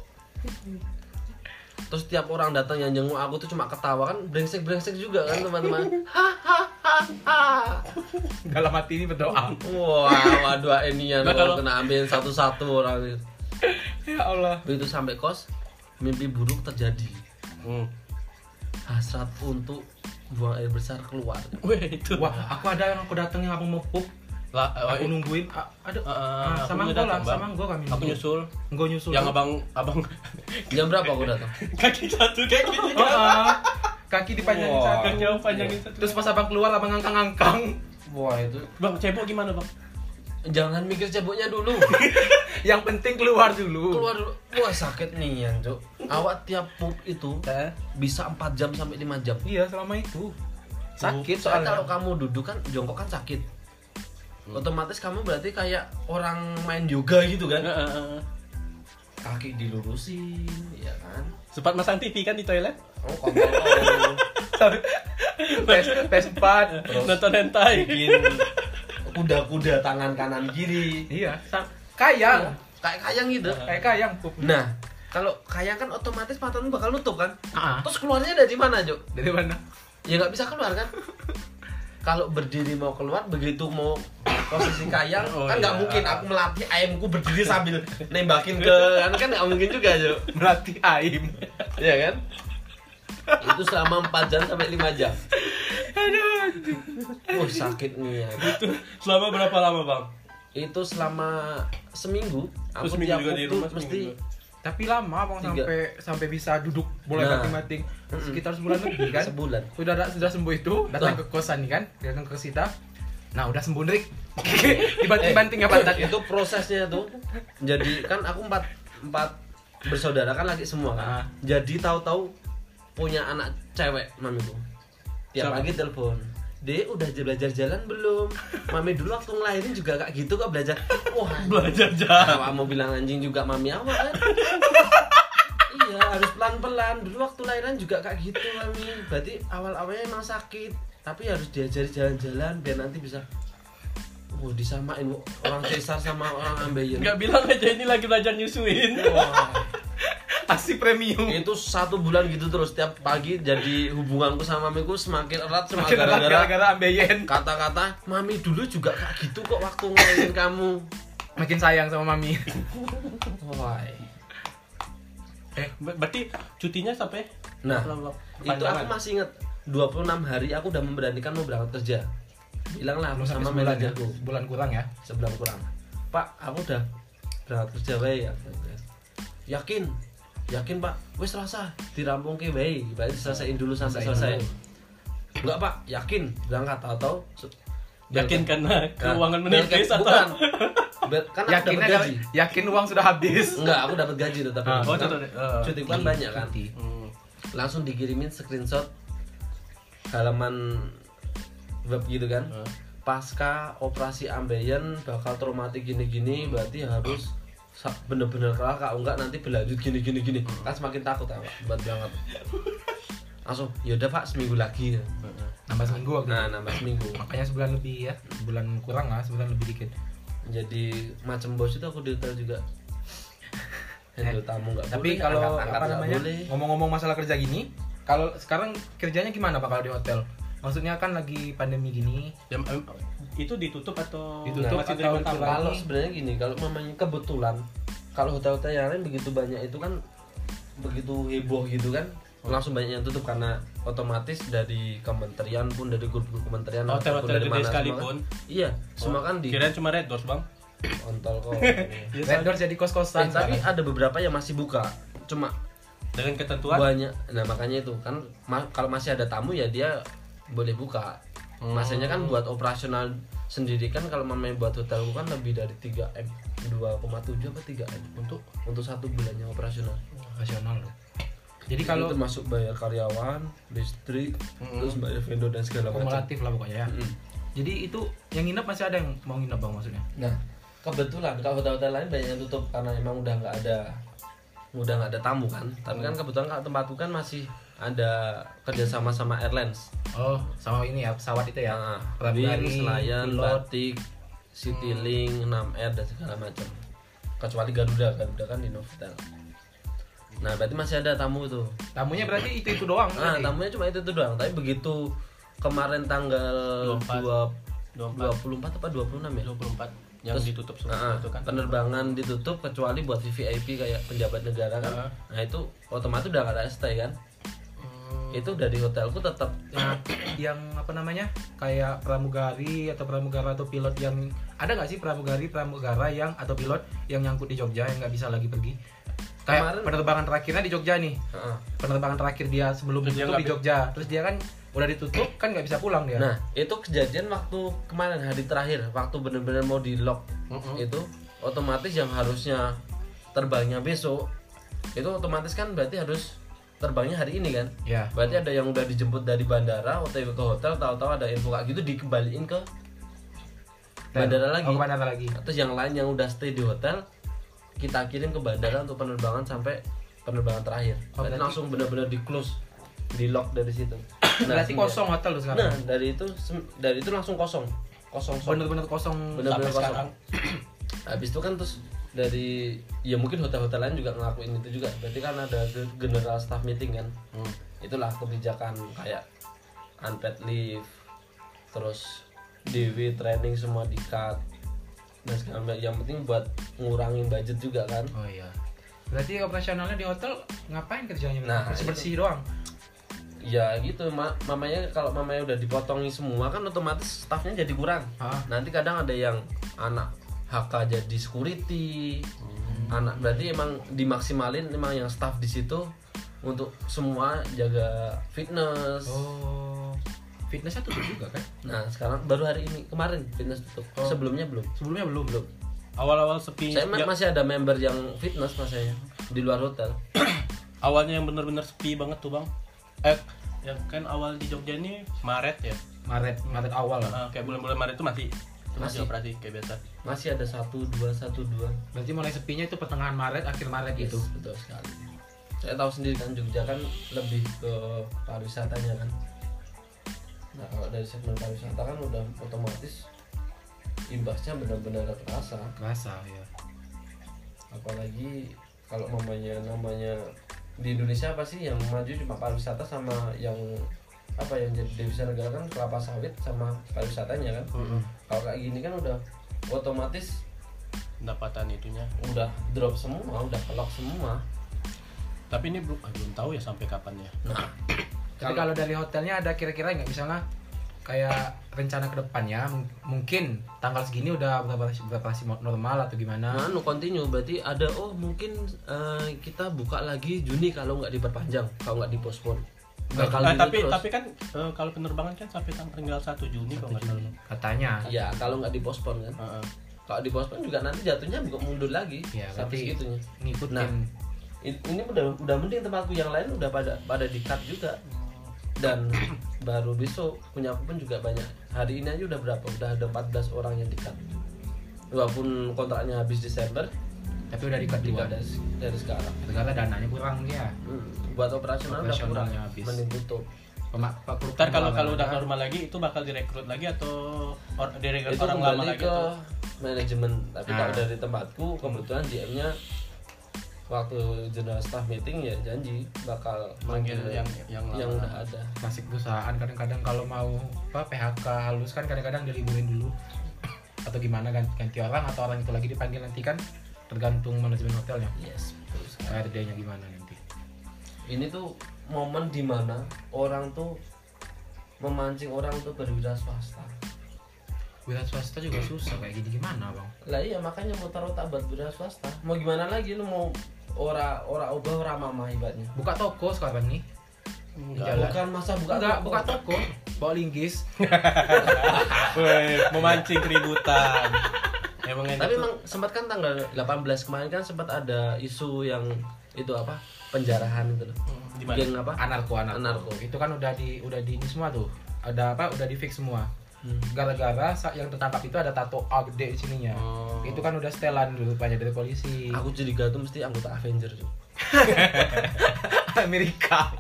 S2: Terus tiap orang datang yang jenguk aku tuh cuma ketawa kan brengsek brengsek juga kan teman-teman. Hahaha.
S3: (laughs) Dalam hati ini berdoa.
S2: Wah, waduh ini ya
S1: Nah,
S2: orang
S1: kalau-
S2: kena ambil satu-satu orang itu.
S3: Ya Allah.
S2: Begitu sampai kos, mimpi buruk terjadi.
S1: hmm.
S2: Hasrat untuk buang air besar keluar.
S1: weh itu
S3: Wah, aku ada yang aku datang yang abang mau pup.
S1: lah
S3: Aku
S1: eh,
S3: nungguin. A- Aduh,
S1: eh,
S3: ah,
S1: aku udah
S3: sama gua lah,
S1: datang, Bang.
S3: sama gua kami.
S1: aku nyusul
S3: Gua nyusul.
S1: yang abang abang
S2: Jam berapa aku datang?
S1: (laughs) kaki satu (laughs) kaki
S3: Oh, (laughs) ah. kaki dipanjangin
S2: Wah.
S3: satu.
S1: jauh panjangin satu
S3: Terus pas abang keluar abang ngangkang-ngangkang.
S2: Wah itu
S1: bang cebok gimana bang
S2: jangan mikir ceboknya dulu.
S3: (laughs) Yang penting keluar dulu.
S2: Keluar dulu. Wah sakit nih ya, Cuk. Awak tiap pup itu
S1: Eh,
S2: bisa 4 jam sampai 5 jam.
S3: Iya, selama itu. Sakit (laughs)
S2: Soalnya kalau
S3: soalnya.
S2: kamu duduk kan jongkok kan sakit. Otomatis kamu berarti kayak orang main yoga gitu
S1: Eh,
S2: kan.
S1: Heeh.
S2: Kaki dilurusin, ya kan.
S1: sempat masang TV kan di toilet
S2: Kamu kontrol
S3: PS, PS4.
S2: Terus.
S1: nonton hentai
S2: (laughs) bikin kuda-kuda tangan kanan kiri.
S3: Iya, sa- kayang.
S2: Kayak kayang gitu.
S3: Kayak kayang pup.
S2: Nah, kalau kayang kan otomatis matamu bakal nutup kan.
S3: Ah,
S2: Terus keluarnya dari mana, Jok?
S3: dari mana?
S2: Ya nggak bisa keluar kan. Kalau berdiri mau keluar begitu mau posisi kayang
S1: Oh,
S2: kan nggak
S1: iya.
S2: mungkin aku melatih ayamku berdiri sambil nembakin ke kan kan nggak mungkin juga, Jok.
S3: Melatih aim.
S2: Iya kan? Itu selama 4 jam sampai 5 jam. Aduh. Wah, sakit nih ya.
S1: selama berapa lama bang
S2: Itu selama seminggu aku
S1: Terus seminggu
S2: tiap
S1: juga di
S2: waktu
S1: rumah, seminggu
S2: mesti
S1: juga.
S3: Tapi lama abang
S2: Tiga.
S3: sampai sampai bisa duduk boleh
S2: Nah.
S3: banting-banting sekitar sebulan
S2: (laughs)
S3: lebih kan?
S2: sebulan.
S3: Sudah sudah sembuh itu datang ke
S2: Tuh.
S3: kosan nih kan? Datang ke kita. Nah udah sembuh Drik. (laughs) Dibanting-banting
S1: ya,
S3: apa pantatnya?
S2: Eh, Itu prosesnya tuh. Jadi kan aku empat empat bersaudara kan lagi semua
S3: Ah.
S2: kan. Jadi tahu-tahu punya anak cewek mamiku. Tiap
S1: Siapa?
S2: pagi telepon. Dek udah belajar jalan belum? Mami dulu waktu ngelahirin juga kayak gitu kok belajar. Wah,
S1: belajar jalan
S2: Awak mau bilang anjing juga mami awak kan? iya harus pelan-pelan. Dulu waktu lahiran juga kayak gitu mami. Berarti awal-awalnya emang sakit, tapi harus diajari jalan-jalan biar nanti bisa. Wah disamain Wo. orang cesar sama orang ambeien.
S1: nggak bilang aja ini lagi belajar nyusuin
S2: Wah,
S3: Asi premium.
S2: itu satu bulan gitu terus tiap pagi jadi hubunganku sama mamiku semakin erat cuma
S3: Makin erat ya kan?
S2: gara-gara
S3: gara-gara ambeien.
S2: kata-kata mami dulu juga kayak gitu kok waktu ngelahirin kamu.
S3: Makin sayang sama mami.
S2: Wah.
S1: eh ber- berarti cutinya sampai
S2: Nah,
S1: Lama-
S2: itu
S1: panjangan.
S2: aku masih inget 26 hari aku udah memberanikan mau berangkat kerja bilanglah aku sama
S3: Sampai sebulan ya.
S2: manajerku
S3: Sebulan kurang ya.
S2: sebulan kurang pak aku udah berangkat kerja wae ya yakin yakin pak wes rasa dirampung ke wae berarti selesaiin dulu sampai
S3: Selesaiin
S2: selesai enggak pak yakin berangkat atau
S1: Yakin karena
S2: Nah,
S1: keuangan
S2: biar
S1: menipis atau
S2: kayak- bukan. Biar- kan aku
S3: Yakinnya
S2: dapat
S3: kalau-
S2: gaji.
S3: yakin uang sudah habis.
S2: Enggak, aku dapat gaji tuh tapi.
S1: oh,
S3: Ah,
S2: kan
S1: tetap, eh.
S2: cuti kan banyak kan.
S3: Cuti.
S1: Hmm.
S2: Langsung dikirimin screenshot halaman web gitu kan. Pasca operasi ambeien bakal traumatik gini-gini berarti harus sa- bener-bener kalah kak enggak nanti berlanjut gini gini gini kan semakin takut ya pak buat banget (laughs) langsung yaudah pak seminggu lagi
S3: Nambah seminggu waktu
S2: nah
S3: itu.
S2: nambah seminggu
S3: Makanya sebulan lebih ya. Bulan kurang lah, sebulan lebih dikit.
S2: jadi macam bos itu aku di hotel juga
S3: (laughs)
S2: handle tamu nggak
S3: Tapi
S2: boleh,
S3: kalau
S2: angkat-angkat
S3: apa
S2: nggak
S3: namanya
S2: boleh.
S3: ngomong-ngomong masalah kerja gini, kalau sekarang kerjanya gimana Pak kalau di hotel? Maksudnya kan lagi pandemi gini,
S1: Ya, em, itu ditutup atau
S3: Ditutup
S1: masih
S3: atau
S1: terima tamu?
S3: pulang?
S2: kalau sebenarnya gini kalau memang kebetulan kalau hotel-hotel yang lain begitu banyak itu kan begitu heboh gitu kan langsung banyak yang tutup karena otomatis dari kementerian pun dari grup-grup kementerian
S1: Hotel-hotel
S2: ataupun dari
S1: gede
S2: mana, semua
S1: sekalipun. Oh,
S2: kan- iya semua kan di
S1: Kirain cuma red doors bang.
S2: ontol kok
S1: (laughs) Ya,
S3: Red Door jadi
S2: Nah,
S3: kos-kosan. kan?
S2: tapi
S3: sekarang.
S2: ada beberapa yang masih buka cuma
S1: Dengan ketentuan.
S2: banyak nah makanya itu kan ma- kalau masih ada tamu ya dia boleh buka masanya kan buat operasional sendiri kan kalau mamanya buat hotel kan lebih dari 3 m 2,7 apa 3 m untuk untuk satu bulannya operasional
S3: profesional loh. Jadi
S2: jadi
S3: kalau
S2: kalau termasuk bayar karyawan listrik terus bayar vendor dan segala macam
S3: kumulatif lah pokoknya ya.
S2: Mm-mm.
S3: Jadi itu yang nginep masih ada yang mau nginep Bang maksudnya.
S2: nah kebetulan kalau hotel-hotel lain banyak yang tutup karena emang udah nggak ada udah nggak ada tamu kan tapi kan kebetulan kalau tempatku kan masih ada kerjasama sama airlines
S3: Oh, sama ini ya pesawat itu ya.
S2: Nah, Wing,
S3: Pramugari,
S2: Senayan,
S3: pilot.
S2: Batik, Citylink, 6R dan segala macam. Kecuali Garuda, Garuda kan di Novotel. Nah, berarti masih ada tamu tuh.
S3: Tamunya berarti itu itu doang.
S2: Nah,
S3: berarti.
S2: tamunya cuma itu tuh doang. Tapi begitu kemarin tanggal
S1: 24.
S2: 24, 24 apa 26 ya?
S1: 24 yang
S2: Terus-
S1: ditutup semua
S2: Nah,
S1: itu kan.
S2: penerbangan ditutup kecuali buat VVIP kayak penjabat negara kan.
S1: Nah.
S2: Nah, itu otomatis udah gak ada stay kan. Itu dari hotelku tetap
S3: Yang, yang apa namanya? Kayak pramugari atau pramugara atau pilot yang ada nggak sih pramugari pramugara yang atau pilot yang nyangkut di Jogja yang nggak bisa lagi pergi? Kayak
S2: Kemarin-
S3: penerbangan terakhirnya di Jogja nih.
S2: Heeh.
S3: Penerbangan terakhir dia sebelum
S1: Terus dia
S3: ditutup
S1: nggak
S3: di Jogja. Terus dia kan udah ditutup kan nggak bisa pulang dia.
S2: Nah, itu kejadian waktu kemarin hari terakhir, waktu bener-bener mau di lock itu otomatis yang harusnya terbangnya besok itu otomatis kan berarti harus terbangnya hari ini kan.
S3: Ya.
S2: Berarti ada yang udah dijemput dari bandara, OTW ke hotel, tahu-tahu ada info kayak gitu dikembaliin ke bandara lagi. Nah,
S3: Oh, ke bandara lagi.
S2: Terus yang lain yang udah stay di hotel kita kirim ke bandara untuk penerbangan sampai penerbangan terakhir.
S3: Oh,
S2: Berarti
S3: berarti-
S2: langsung bener-bener di close, di lock dari situ. Nah,
S3: berarti
S2: semenjak-
S3: kosong hotel lu sekarang. Oh,
S2: Nah, dari itu sem- dari itu langsung kosong. Kosong. kosong.
S3: Bener-bener kosong.
S1: Sampai
S2: Bener-bener kosong.
S1: sekarang.
S2: (clears throat) Habis itu kan terus dari ya mungkin hotel-hotel lain juga ngelakuin itu juga. Berarti kan ada ge- general staff meeting kan. Itulah kebijakan kayak unpaid leave terus DW training semua di-cut. Dan segala macam. yang penting buat ngurangin budget juga kan.
S3: Oh iya. Berarti operasionalnya di hotel ngapain kerjanya?
S2: Nah,
S3: bersih bersih doang.
S2: Ya gitu, ma- mamanya kalau mamanya udah dipotongi semua kan otomatis staffnya jadi kurang.
S3: Hah?
S2: nanti kadang ada yang anak HK jadi security
S3: Hmm.
S2: anak berarti emang dimaksimalin emang yang staff di situ untuk semua jaga fitness
S3: Oh. Fitnessnya tutup juga kan?
S2: nah sekarang baru hari ini kemarin fitness tutup
S3: Oh.
S2: sebelumnya belum
S3: Sebelumnya belum belum.
S1: Awal-awal sepi.
S3: Iya.
S2: saya ma-
S1: ya,
S2: masih ada member yang fitness masanya di luar hotel
S1: (clears throat) awalnya yang benar-benar sepi banget tuh bang. Eh, ya kan awal di Jogja ini Maret ya.
S3: Maret Maret awal lah.
S1: Ah, kayak bulan-bulan Maret itu masih
S2: Masih.
S1: masih operasi kayak biasa.
S2: masih ada satu dua satu dua
S3: Berarti mulai sepinya itu pertengahan Maret akhir Maret gitu.
S2: Yes, betul sekali saya tahu sendiri kan Jogja kan lebih ke pariwisatanya kan nah kalau dari segmen pariwisata kan udah otomatis imbasnya benar-benar terasa
S3: Kerasa ya.
S2: apalagi kalau namanya namanya di Indonesia apa sih yang maju cuma pariwisata sama yang apa yang jadi devisa negara kan kelapa sawit sama pariwisatanya kan kalau kayak gini kan udah otomatis
S1: Pendapatan itunya.
S2: udah drop semua udah kelok semua
S1: Tapi ini belum ah, belum tahu ya sampai kapan ya.
S2: nah
S3: Tapi kalau dari hotelnya ada kira-kira nggak misalnya kayak rencana kedepannya mung- mungkin tanggal segini udah beroperasi, beroperasi normal atau gimana?
S2: Nah, no continue berarti ada oh mungkin eh, kita buka lagi Juni kalau nggak diperpanjang, kalau nggak dipospon. Nah, kalau
S1: Nah,
S2: gitu
S1: tapi
S2: terus.
S1: tapi kan eh, kalau penerbangan kan sampai tanggal 1 Juni kalau nggak salah.
S3: katanya
S2: ya kalau nggak dipospon kan
S1: Heeh.
S2: kalau dipospon juga nanti jatuhnya buka mundur lagi
S3: ya
S2: sampai
S3: berarti
S2: segitunya
S3: ngikutin
S2: Nah. I- ini udah udah mending tempatku yang lain udah pada pada di cut juga dan baru besok punya aku pun juga banyak hari ini aja udah berapa udah ada 14 orang yang di cut walaupun kontraknya habis Desember
S3: tapi udah dikat
S2: di
S3: juga
S2: cut dari, dari sekarang
S3: segala dananya kurang ya
S2: Hmm, buat operasional udah
S3: Operasionalnya
S2: kurang
S3: habis.
S2: mending tutup
S3: Pemak, Pak Kur-
S1: Ntar kalau kalau udah
S3: pemulangan.
S1: normal lagi itu bakal direkrut lagi atau or, direkrut
S2: itu
S1: Ya, orang
S2: kembali
S1: lama lagi
S2: ke
S1: tuh?
S2: manajemen tapi kalau
S3: Ah.
S2: dari tempatku kebetulan GM-nya waktu general staff meeting ya janji bakal
S1: Manggil yang yang lama.
S2: yang udah ada
S3: nasib perusahaan kadang-kadang kalau mau apa PHK halus kan kadang-kadang diliburin dulu atau gimana ganti, ganti orang atau orang itu lagi dipanggil nanti kan tergantung manajemen hotelnya
S2: yes betul sekali.
S3: HRD-nya gimana nanti
S2: ini tuh momen dimana orang tuh memancing orang tuh berwira swasta
S3: wira swasta juga susah kayak gini gimana bang
S2: lah iya makanya mutar otak buat wira swasta mau gimana lagi lu mau ora ora obah ora mama ibaratnya
S3: buka toko sekarang nih
S1: Enggak.
S3: Jalan.
S2: bukan masa buka
S3: buka
S2: toko.
S3: buka toko bawa linggis
S1: Weh, memancing
S2: (laughs)
S1: keributan. Emang enak
S2: tapi
S1: tuh.
S2: emang sempat kan tanggal 18 kemarin kan sempat ada isu yang itu apa penjarahan itu loh
S1: Di mana?
S2: geng apa
S3: anarko anarko,
S2: Anarko.
S3: itu kan udah di udah di ini semua tuh ada apa udah di fix semua gara-gara saat yang tertangkap itu ada tato A gede di sininya
S1: Oh.
S3: itu kan udah setelan dulu banyak dari polisi
S2: aku curiga tuh mesti anggota Avenger tuh
S3: Amerika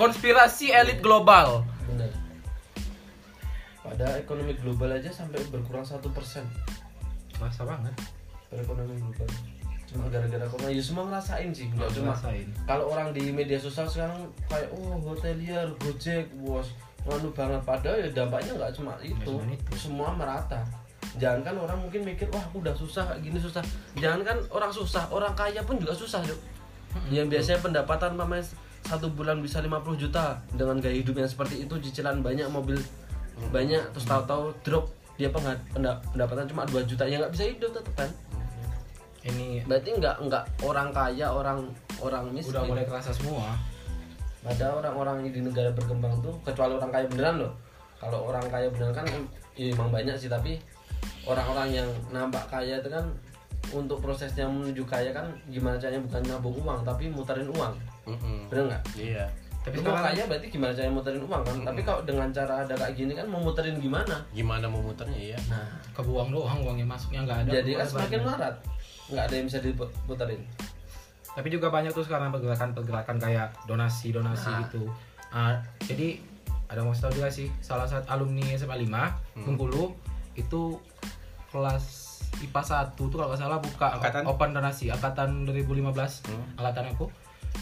S3: konspirasi elit global
S2: bener pada ekonomi global aja sampai berkurang satu persen
S3: masa banget
S2: perekonomian global cuma gara-gara corona ya semua ngerasain sih nggak cuma
S3: rasain
S2: kalau orang di media sosial sekarang kayak oh hotelier gojek bos nganu banget padahal ya dampaknya nggak cuma itu
S3: cuma itu.
S2: semua merata jangan kan orang mungkin mikir wah aku udah susah kayak gini susah jangan kan orang susah orang kaya pun juga susah yuk yang biasanya pendapatan mamanya satu bulan bisa 50 juta dengan gaya hidup yang seperti itu cicilan banyak mobil banyak terus tahu-tahu drop dia pengha- penda- pendapatan cuma 2 juta ya nggak bisa hidup tetap kan
S3: ini
S2: berarti nggak nggak orang kaya orang orang miskin
S3: udah mulai terasa semua
S2: Padahal orang-orang di negara berkembang tuh kecuali orang kaya beneran loh. Kalau orang kaya beneran kan em- ya emang banyak sih tapi orang-orang yang nampak kaya itu kan untuk prosesnya menuju kaya kan gimana caranya bukan nabung uang tapi muterin uang.
S1: Mm-mm.
S2: Bener nggak?
S1: Iya.
S3: tapi
S2: Lu mau
S3: sekarang
S2: kaya berarti gimana caranya muterin uang kan? Tapi
S3: Hmm.
S2: kalau dengan cara ada kayak gini kan mau muterin gimana?
S1: Gimana mau muternya iya.
S2: Nah,
S3: kebuang doang uang yang masuknya nggak ada
S2: jadi kan
S3: keluar
S2: semakin
S3: banyak.
S2: marat. Nggak ada yang bisa diputerin.
S3: tapi juga banyak tuh sekarang pergerakan-pergerakan kayak donasi donasi
S2: Nah.
S3: gitu Ah, jadi ada mau tahu juga sih salah satu alumni SMA 5 Bengkulu itu kelas IPA 1 tuh kalau nggak salah buka
S1: Angkatan?
S3: open donasi angkatan 2015 angkatan aku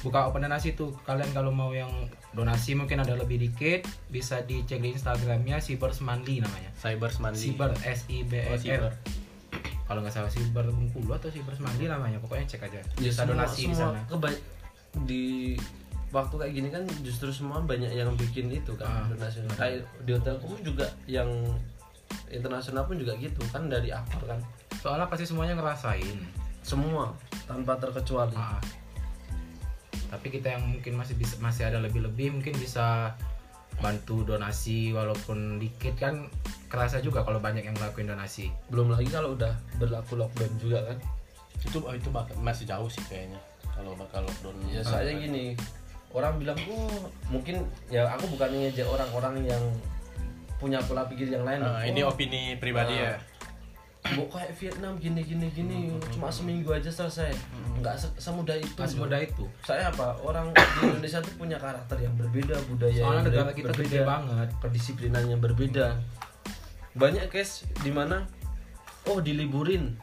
S3: buka open donasi tuh kalian kalau mau yang donasi mungkin ada lebih dikit bisa dicek di Instagramnya Sibersmanli namanya
S1: Cyber Smandi.
S3: Siber S I B
S1: Oh,
S3: E
S1: Siber.
S3: R kalau nggak salah Siber Bengkulu atau Siber Semanggi namanya pokoknya cek aja bisa
S2: semua-
S3: donasi di
S2: semua
S3: sana
S2: keba- di waktu kayak gini kan justru semua banyak yang bikin itu
S3: Ah.
S2: kan internasional kayak di hotelku pun juga yang internasional pun juga gitu kan dari aktor kan
S3: soalnya pasti semuanya ngerasain
S2: semua tanpa terkecuali
S3: Ah. tapi kita yang mungkin masih bisa masih ada lebih lebih mungkin bisa bantu donasi walaupun dikit kan kerasa juga kalau banyak yang ngelakuin donasi
S2: belum lagi kalau udah berlaku lockdown juga kan
S1: Itu oh, itu bakal, masih jauh sih kayaknya. Kalau bakal lockdown. Ah,
S2: ya soalnya gini orang bilang oh mungkin ya aku bukan ngejek orang-orang yang punya pola pikir yang lain
S1: Nah,
S2: Oh,
S1: ini opini pribadi
S2: Ah.
S1: ya.
S2: Bu, kayak Vietnam gini gini gini cuma seminggu aja selesai nggak se- semudah itu
S3: pas
S2: Bu.
S3: muda itu
S2: saya apa orang di Indonesia tuh punya karakter yang berbeda budaya Iya, yang
S3: soalnya negara
S2: ber-
S3: kita
S2: berbeda
S3: gede banget
S2: kedisiplinan yang berbeda banyak case di mana oh diliburin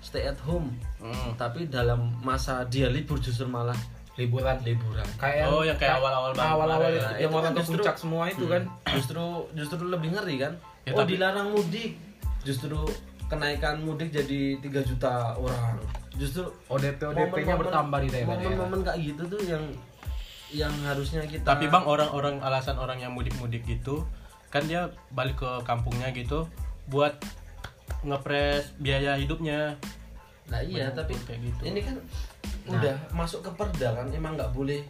S2: stay at home
S1: Hmm.
S2: tapi dalam masa dia libur justru malah
S3: liburan
S2: liburan
S3: kayak
S1: Oh, yang kayak awal-awal banget
S3: awal awal
S1: kemarin.
S2: Nah,
S3: yang
S2: itu
S3: orang
S2: kan
S3: ke
S2: justru-
S3: puncak semua itu kan
S2: justru justru lebih ngeri kan
S1: Ya,
S2: oh
S1: tapi-
S2: dilarang mudik justru kenaikan mudik jadi 3 juta orang justru
S3: ODP ODP-nya
S2: momen-momen-
S3: bertambah di daerah-daerah
S2: momen-momen kayak gitu tuh yang yang harusnya kita
S1: Tapi bang orang-orang alasan orang yang mudik-mudik gitu kan dia balik ke kampungnya gitu buat ngepres biaya hidupnya.
S2: Nah iya
S1: Banyak
S2: tapi Nah.
S1: yang kayak gitu.
S2: ini kan udah masuk ke perda kan emang nggak boleh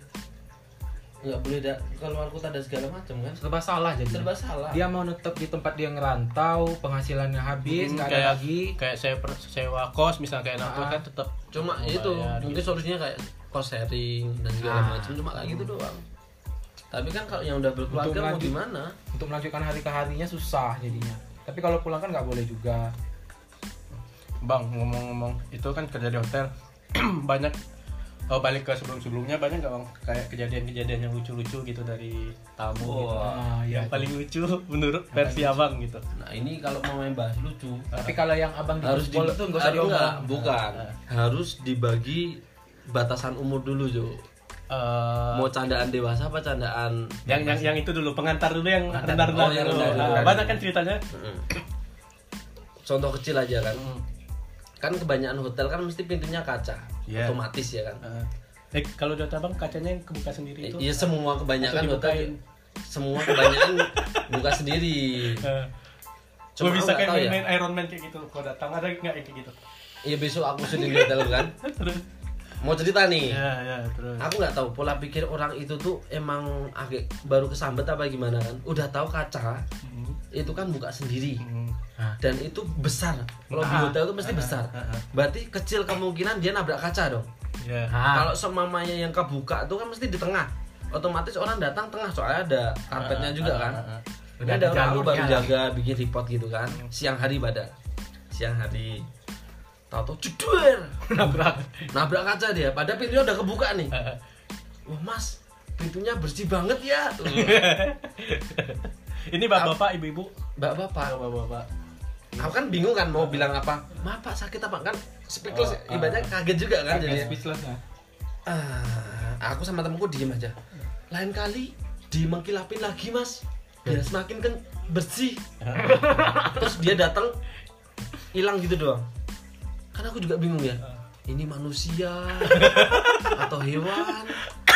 S2: nggak boleh da- keluar kota dan segala macam kan
S3: serba salah jadi
S2: serba salah
S3: dia mau netep di tempat dia ngerantau penghasilannya
S1: Hmm,
S3: habis nggak ada
S1: kayak
S3: lagi
S1: kayak saya per- sewa kos misalnya kayak anak
S3: Ah.
S1: kan tetap
S2: cuma
S1: membayar
S2: itu
S1: gitu.
S2: mungkin solusinya kayak cost sharing dan segala
S3: Ah.
S2: macam cuma kayak gitu doang tapi kan kalau yang udah berkeluarga mau
S3: lanjut.
S2: gimana
S3: untuk melanjutkan hari ke harinya susah jadinya tapi kalau pulang kan nggak boleh juga
S1: Bang, ngomong-ngomong, itu kan kerja di hotel (clears throat) banyak oh, balik ke sebelum-sebelumnya banyak nggak bang kayak kejadian-kejadian yang lucu-lucu gitu dari tamu gitu.
S2: Wah,
S3: Ah, iya.
S1: yang paling lucu (laughs) menurut versi abang gitu.
S2: nah ini kalau mau main bahas lucu
S3: tapi kalau yang abang di
S2: harus di
S3: jebol tuh nggak usah
S2: harus-
S3: diomong
S2: enggak, bukan harus dibagi batasan umur dulu Jo
S1: Eh,
S2: mau candaan dewasa apa candaan
S1: yang yang yang itu dulu pengantar dulu yang
S2: Pengantar.
S1: rendah-rendah
S2: Oh, yang
S1: dulu.
S2: rendah-rendah.
S1: Nah, banyak kan ceritanya.
S2: Mm. contoh kecil aja kan
S1: Mm.
S2: kan kebanyakan hotel kan mesti pintunya kaca
S1: Iya.
S2: otomatis ya kan
S1: Eh, eh, kalau data bang kacanya yang kebuka sendiri itu.
S2: Iya semua kebanyakan
S1: Atau
S2: hotel
S1: dibukain.
S2: semua
S1: (laughs)
S2: kebanyakan buka sendiri.
S1: Eh,
S2: Cuma
S1: gua bisa
S2: aku nggak
S1: kayak
S2: tahu ya.
S1: main, main Iron Man kayak gitu. Kalau datang ada nggak yang kayak gitu?
S2: Iya besok aku sudah di hotel kan.
S1: Terus.
S2: Mau cerita nih.
S1: (laughs) Ya ya terus.
S2: Aku nggak tahu pola pikir orang itu tuh emang agak baru kesambet apa gimana kan. Udah tahu kaca
S1: Hmm,
S2: itu kan buka sendiri
S1: hmm.
S2: dan itu besar. Kalau di
S3: Ah,
S2: hotel itu mesti besar.
S1: ah, ah.
S2: Berarti kecil kemungkinan dia nabrak kaca dong.
S1: Ya.
S3: Ah,
S2: Kalau semamanya yang kebuka tuh kan mesti di tengah. Otomatis orang datang tengah soalnya ada karpetnya
S1: Ah,
S2: juga
S1: ah,
S2: kan.
S1: ah, ah.
S2: Ini
S3: Udah ada
S2: ada orang lu baru
S3: jalurnya lah.
S2: jaga bikin report gitu kan. Siang hari pada siang hari. Tato cedur
S1: (laughs) nabrak (laughs)
S2: nabrak kaca dia. Padahal pintunya udah kebuka nih. Wah mas, pintunya bersih banget ya.
S1: ini bapak-bapak ibu-ibu
S2: Mbak bapak,
S1: bapak-bapak
S2: aku kan bingung kan mau bilang apa. Ma pak sakit apa kan? Speechless,
S1: Oh,
S2: ibaratnya kaget juga kan
S3: kayak
S2: jadi.
S3: speechless ya
S2: Ah, aku sama temenku diem aja. Lain kali dimengkilapin lagi mas, biar semakin kan bersih. Terus dia datang hilang gitu doang. Kan aku juga bingung ya. Ini manusia (laughs) atau hewan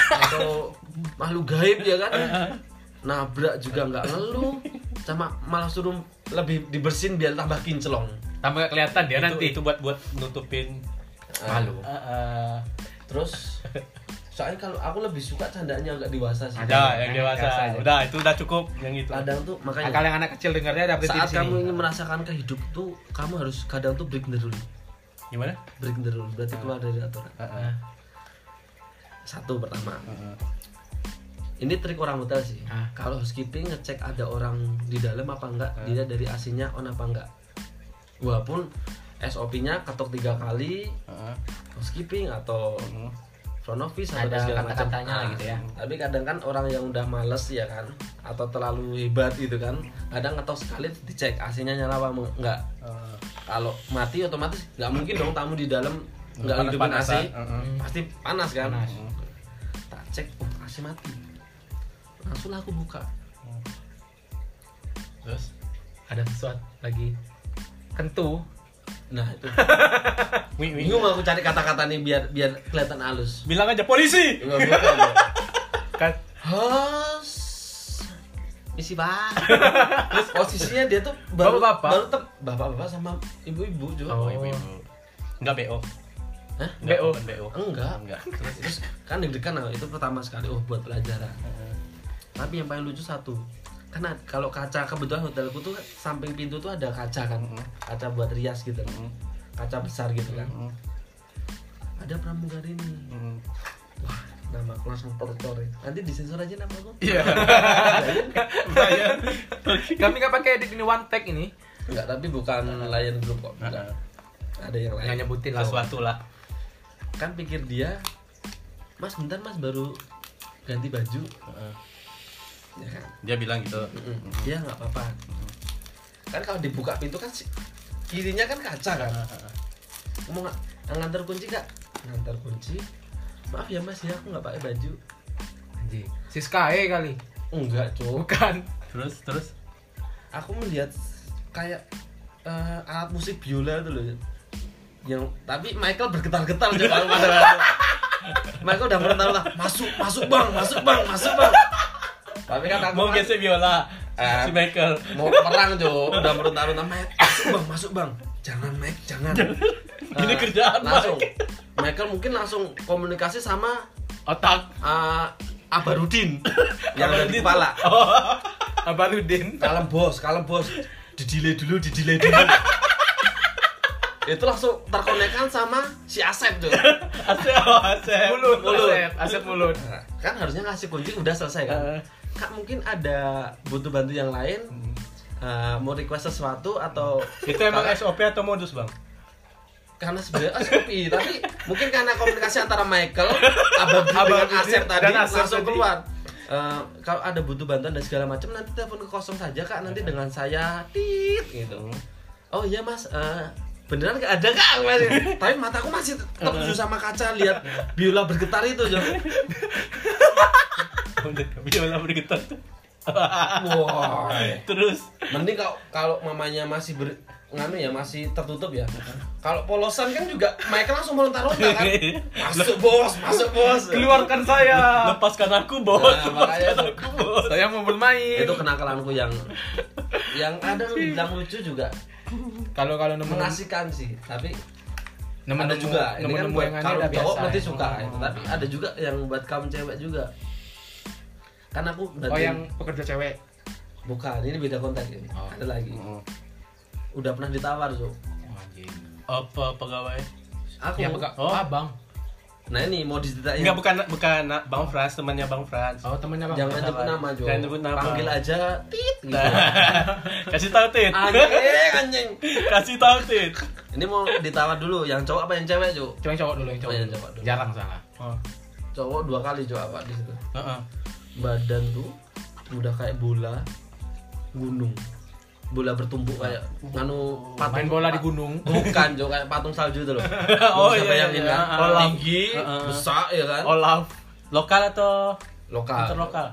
S2: atau makhluk gaib ya kan? Nabrak juga nggak ngeluh, sama malah suruh lebih dibersihin biar tambah kinclong.
S3: tambah nggak kelihatan dia
S1: itu,
S3: nanti
S1: itu buat buat nutupin
S3: malu
S1: Ah, ah.
S2: Terus soalnya kalau aku lebih suka candanya agak dewasa sih.
S1: udah yang
S3: Yang
S1: dewasa
S3: dewasa aja.
S1: udah itu udah cukup yang itu
S2: Kadang tuh makanya
S3: akal Nah, yang anak kecil dengarnya dapat
S2: saat
S3: di sini.
S2: kamu ingin merasakan kehidup tuh kamu harus kadang tuh break the rule
S1: gimana
S2: break the rule berarti keluar dari aturan
S1: Ah, ah.
S2: satu pertama ini trik orang hotel sih
S3: Ah.
S2: kalau housekeeping ngecek ada orang di dalam apa enggak dia dari AC-nya on apa enggak walaupun SOP-nya ketok tiga kali
S1: Ah, ah.
S2: housekeeping atau
S1: Hmm.
S2: front office atau
S3: Ada
S2: segala macam Ah.
S3: kata-katanya lah gitu ya.
S2: tapi kadang kan orang yang udah males ya kan atau terlalu hebat gitu kan kadang ngetok sekali dicek AC-nya nyala apa enggak
S1: Ah.
S2: kalau mati otomatis nggak mungkin dong tamu di dalam nggak
S1: Panas-
S2: hidupin AC
S1: panasan. Heeh.
S3: Hmm,
S2: pasti panas kan tak cek oh AC mati langsung lah aku buka
S1: terus
S3: ada sesuatu lagi kentu
S2: nah itu
S1: Wih, wih.
S2: bingung aku cari kata-kata nih biar biar kelihatan halus
S1: bilang aja polisi
S2: Nggak buka, ya.
S1: kan
S2: Hos misi bah terus posisinya dia tuh baru
S3: Bapak-bapak?
S2: baru tep- bapak-bapak sama ibu-ibu juga
S1: oh ibu-ibu nggak bo
S2: Hah?
S1: Nggak,
S3: BO.
S1: bukan bo
S2: enggak
S1: enggak
S2: terus kan deg-degan lah, itu pertama sekali oh buat pelajaran tapi yang paling lucu satu karena kalau kaca kebetulan hotelku tuh samping pintu tuh ada kaca kan kaca buat rias gitu kan.
S1: Mm.
S2: kaca besar gitu kan
S1: Mm.
S2: ada pramugari nih
S1: Hmm.
S2: wah nama aku langsung tercore nanti disensor aja nama aku
S3: iya
S1: ya.
S3: kami nggak pakai edit ini one take ini
S2: enggak tapi bukan layan grup kok bukan.
S1: Ah, ah.
S2: ada yang
S3: nggak
S2: lain
S3: nyebutin lah
S1: sesuatu lah
S2: kan pikir dia mas bentar mas baru ganti baju
S1: Heeh.
S2: ya kan
S1: dia bilang gitu
S2: Mm-mm. Iya nggak apa-apa. Kan kalau dibuka pintu kan si- kirinya kan kaca kan. Mau nggak ngantar kunci kak? Ngantar kunci. Maaf ya mas ya aku nggak pakai baju.
S3: Anjing. si Sky kali
S2: Enggak cok.
S3: (laughs) bukan
S1: terus terus
S2: Aku melihat kayak eh, alat musik biola itu loh. Yang tapi Michael bergetar-getar aja kalau pada (laughs) waktu. Michael udah merentang masuk masuk bang masuk bang masuk bang. Tapi kan aku
S1: mau
S2: kan-
S1: gesek biola
S2: Eh.
S1: si Michael
S2: mau perang Jo udah meronta-ronta Mike masuk bang masuk bang jangan Mike jangan
S1: Ini
S2: Eh,
S1: kerjaan,
S2: langsung Michael mungkin langsung komunikasi sama
S1: otak
S2: eh, Abarudin
S1: (laughs)
S2: yang ada
S1: Abarudin. (laughs)
S2: di kepala
S1: Oh,
S3: Abarudin.
S2: kalem bos kalem bos didile dulu didile dulu itu langsung terkonekkan sama si Asep tuh
S1: Asep, oh, Asep.
S3: Mulut,
S2: Mulut.
S3: Asep, Asep mulut.
S2: Nah, kan harusnya ngasih kunci udah selesai kan
S1: Eh.
S2: kak mungkin ada butuh bantu yang lain Eh, mau request sesuatu atau
S1: Itu emang
S2: Karena-
S1: SOP atau modus bang?
S2: karena sebenarnya SOP tapi mungkin karena komunikasi antara Michael Abang dengan
S3: Abang
S2: Asep
S3: dan
S2: tadi
S3: Asep
S2: langsung
S3: tadi.
S2: keluar Eh, kalau ada butuh bantuan dan segala macam nanti telepon ke kosong saja kak nanti
S3: Iya.
S2: dengan saya tit gitu oh iya mas eh, beneran gak ada kak
S3: (laughs)
S2: Mas. tapi mataku masih tertuju sama kaca lihat biola bergetar itu Jo.
S1: Biola bergetar tuh.
S2: wow
S1: Terus
S2: mending kalau kalau mamanya masih ber nganu ya masih tertutup ya kalau polosan kan juga Michael langsung meronta-ronta
S3: (laughs)
S2: kan masuk bos masuk bos
S3: Keluarkan saya.
S1: lepaskan aku
S3: Oh,
S1: bos,
S2: Nah, makanya
S1: lepaskan
S2: tuh.
S1: aku bos.
S3: Saya mau bermain.
S2: itu kenakalanku yang yang kadang bilang lucu juga
S3: Kalau kalau nemu
S2: mengasihkan sih tapi
S3: nemu
S2: ada
S3: nemu-
S2: juga ini
S3: nemu
S2: kan
S3: nemu
S2: buat
S3: yang aneh
S2: kalau
S3: udah biasa.
S2: cowok berarti
S3: ya.
S2: suka gitu. tapi ada juga yang buat kamu cewek juga kan aku
S3: Oh
S2: berarti
S3: yang pekerja cewek.
S2: bukan ini beda konteks ini
S3: Oh.
S2: ada lagi udah pernah ditawar
S3: Oh,
S2: tuh
S3: anjing.
S1: Apa pegawai?
S2: aku
S3: Ya peka-
S1: Oh.
S3: abang.
S2: nah ini mau diceritain
S1: Enggak bukan bukan Bang Frans temannya Bang Frans.
S3: Oh temennya bang.
S2: jangan nyebut nama Jo
S1: Jangan nyebut nama.
S2: panggil aja tit
S1: (laughs)
S2: gitu
S3: Nah.
S1: Kasih tahu Tit.
S2: (laughs) anjing eh, anjing
S1: Kasih tahu Tit.
S2: ini mau ditawar dulu yang cowok apa yang cewek Jo
S3: Coba yang cowok dulu yang cowok.
S2: Oh, yang cowok dulu.
S3: Jarang salah.
S1: Oh.
S2: cowok dua kali Jo apa di situ
S1: heeh.
S2: badan tuh udah kayak bola gunung bola bertumpuk kayak nganu
S3: Main bola di gunung.
S2: (laughs) bukan jo kayak patung salju itu loh
S1: Oh,
S2: Bisa
S1: iya,
S2: bayangin
S1: iya,
S2: kan
S1: iya. Olah.
S2: tinggi
S1: Heeh.
S2: besar ya kan Ah.
S1: Olaf. Oh, Lokal atau
S2: lokal
S1: interlokal?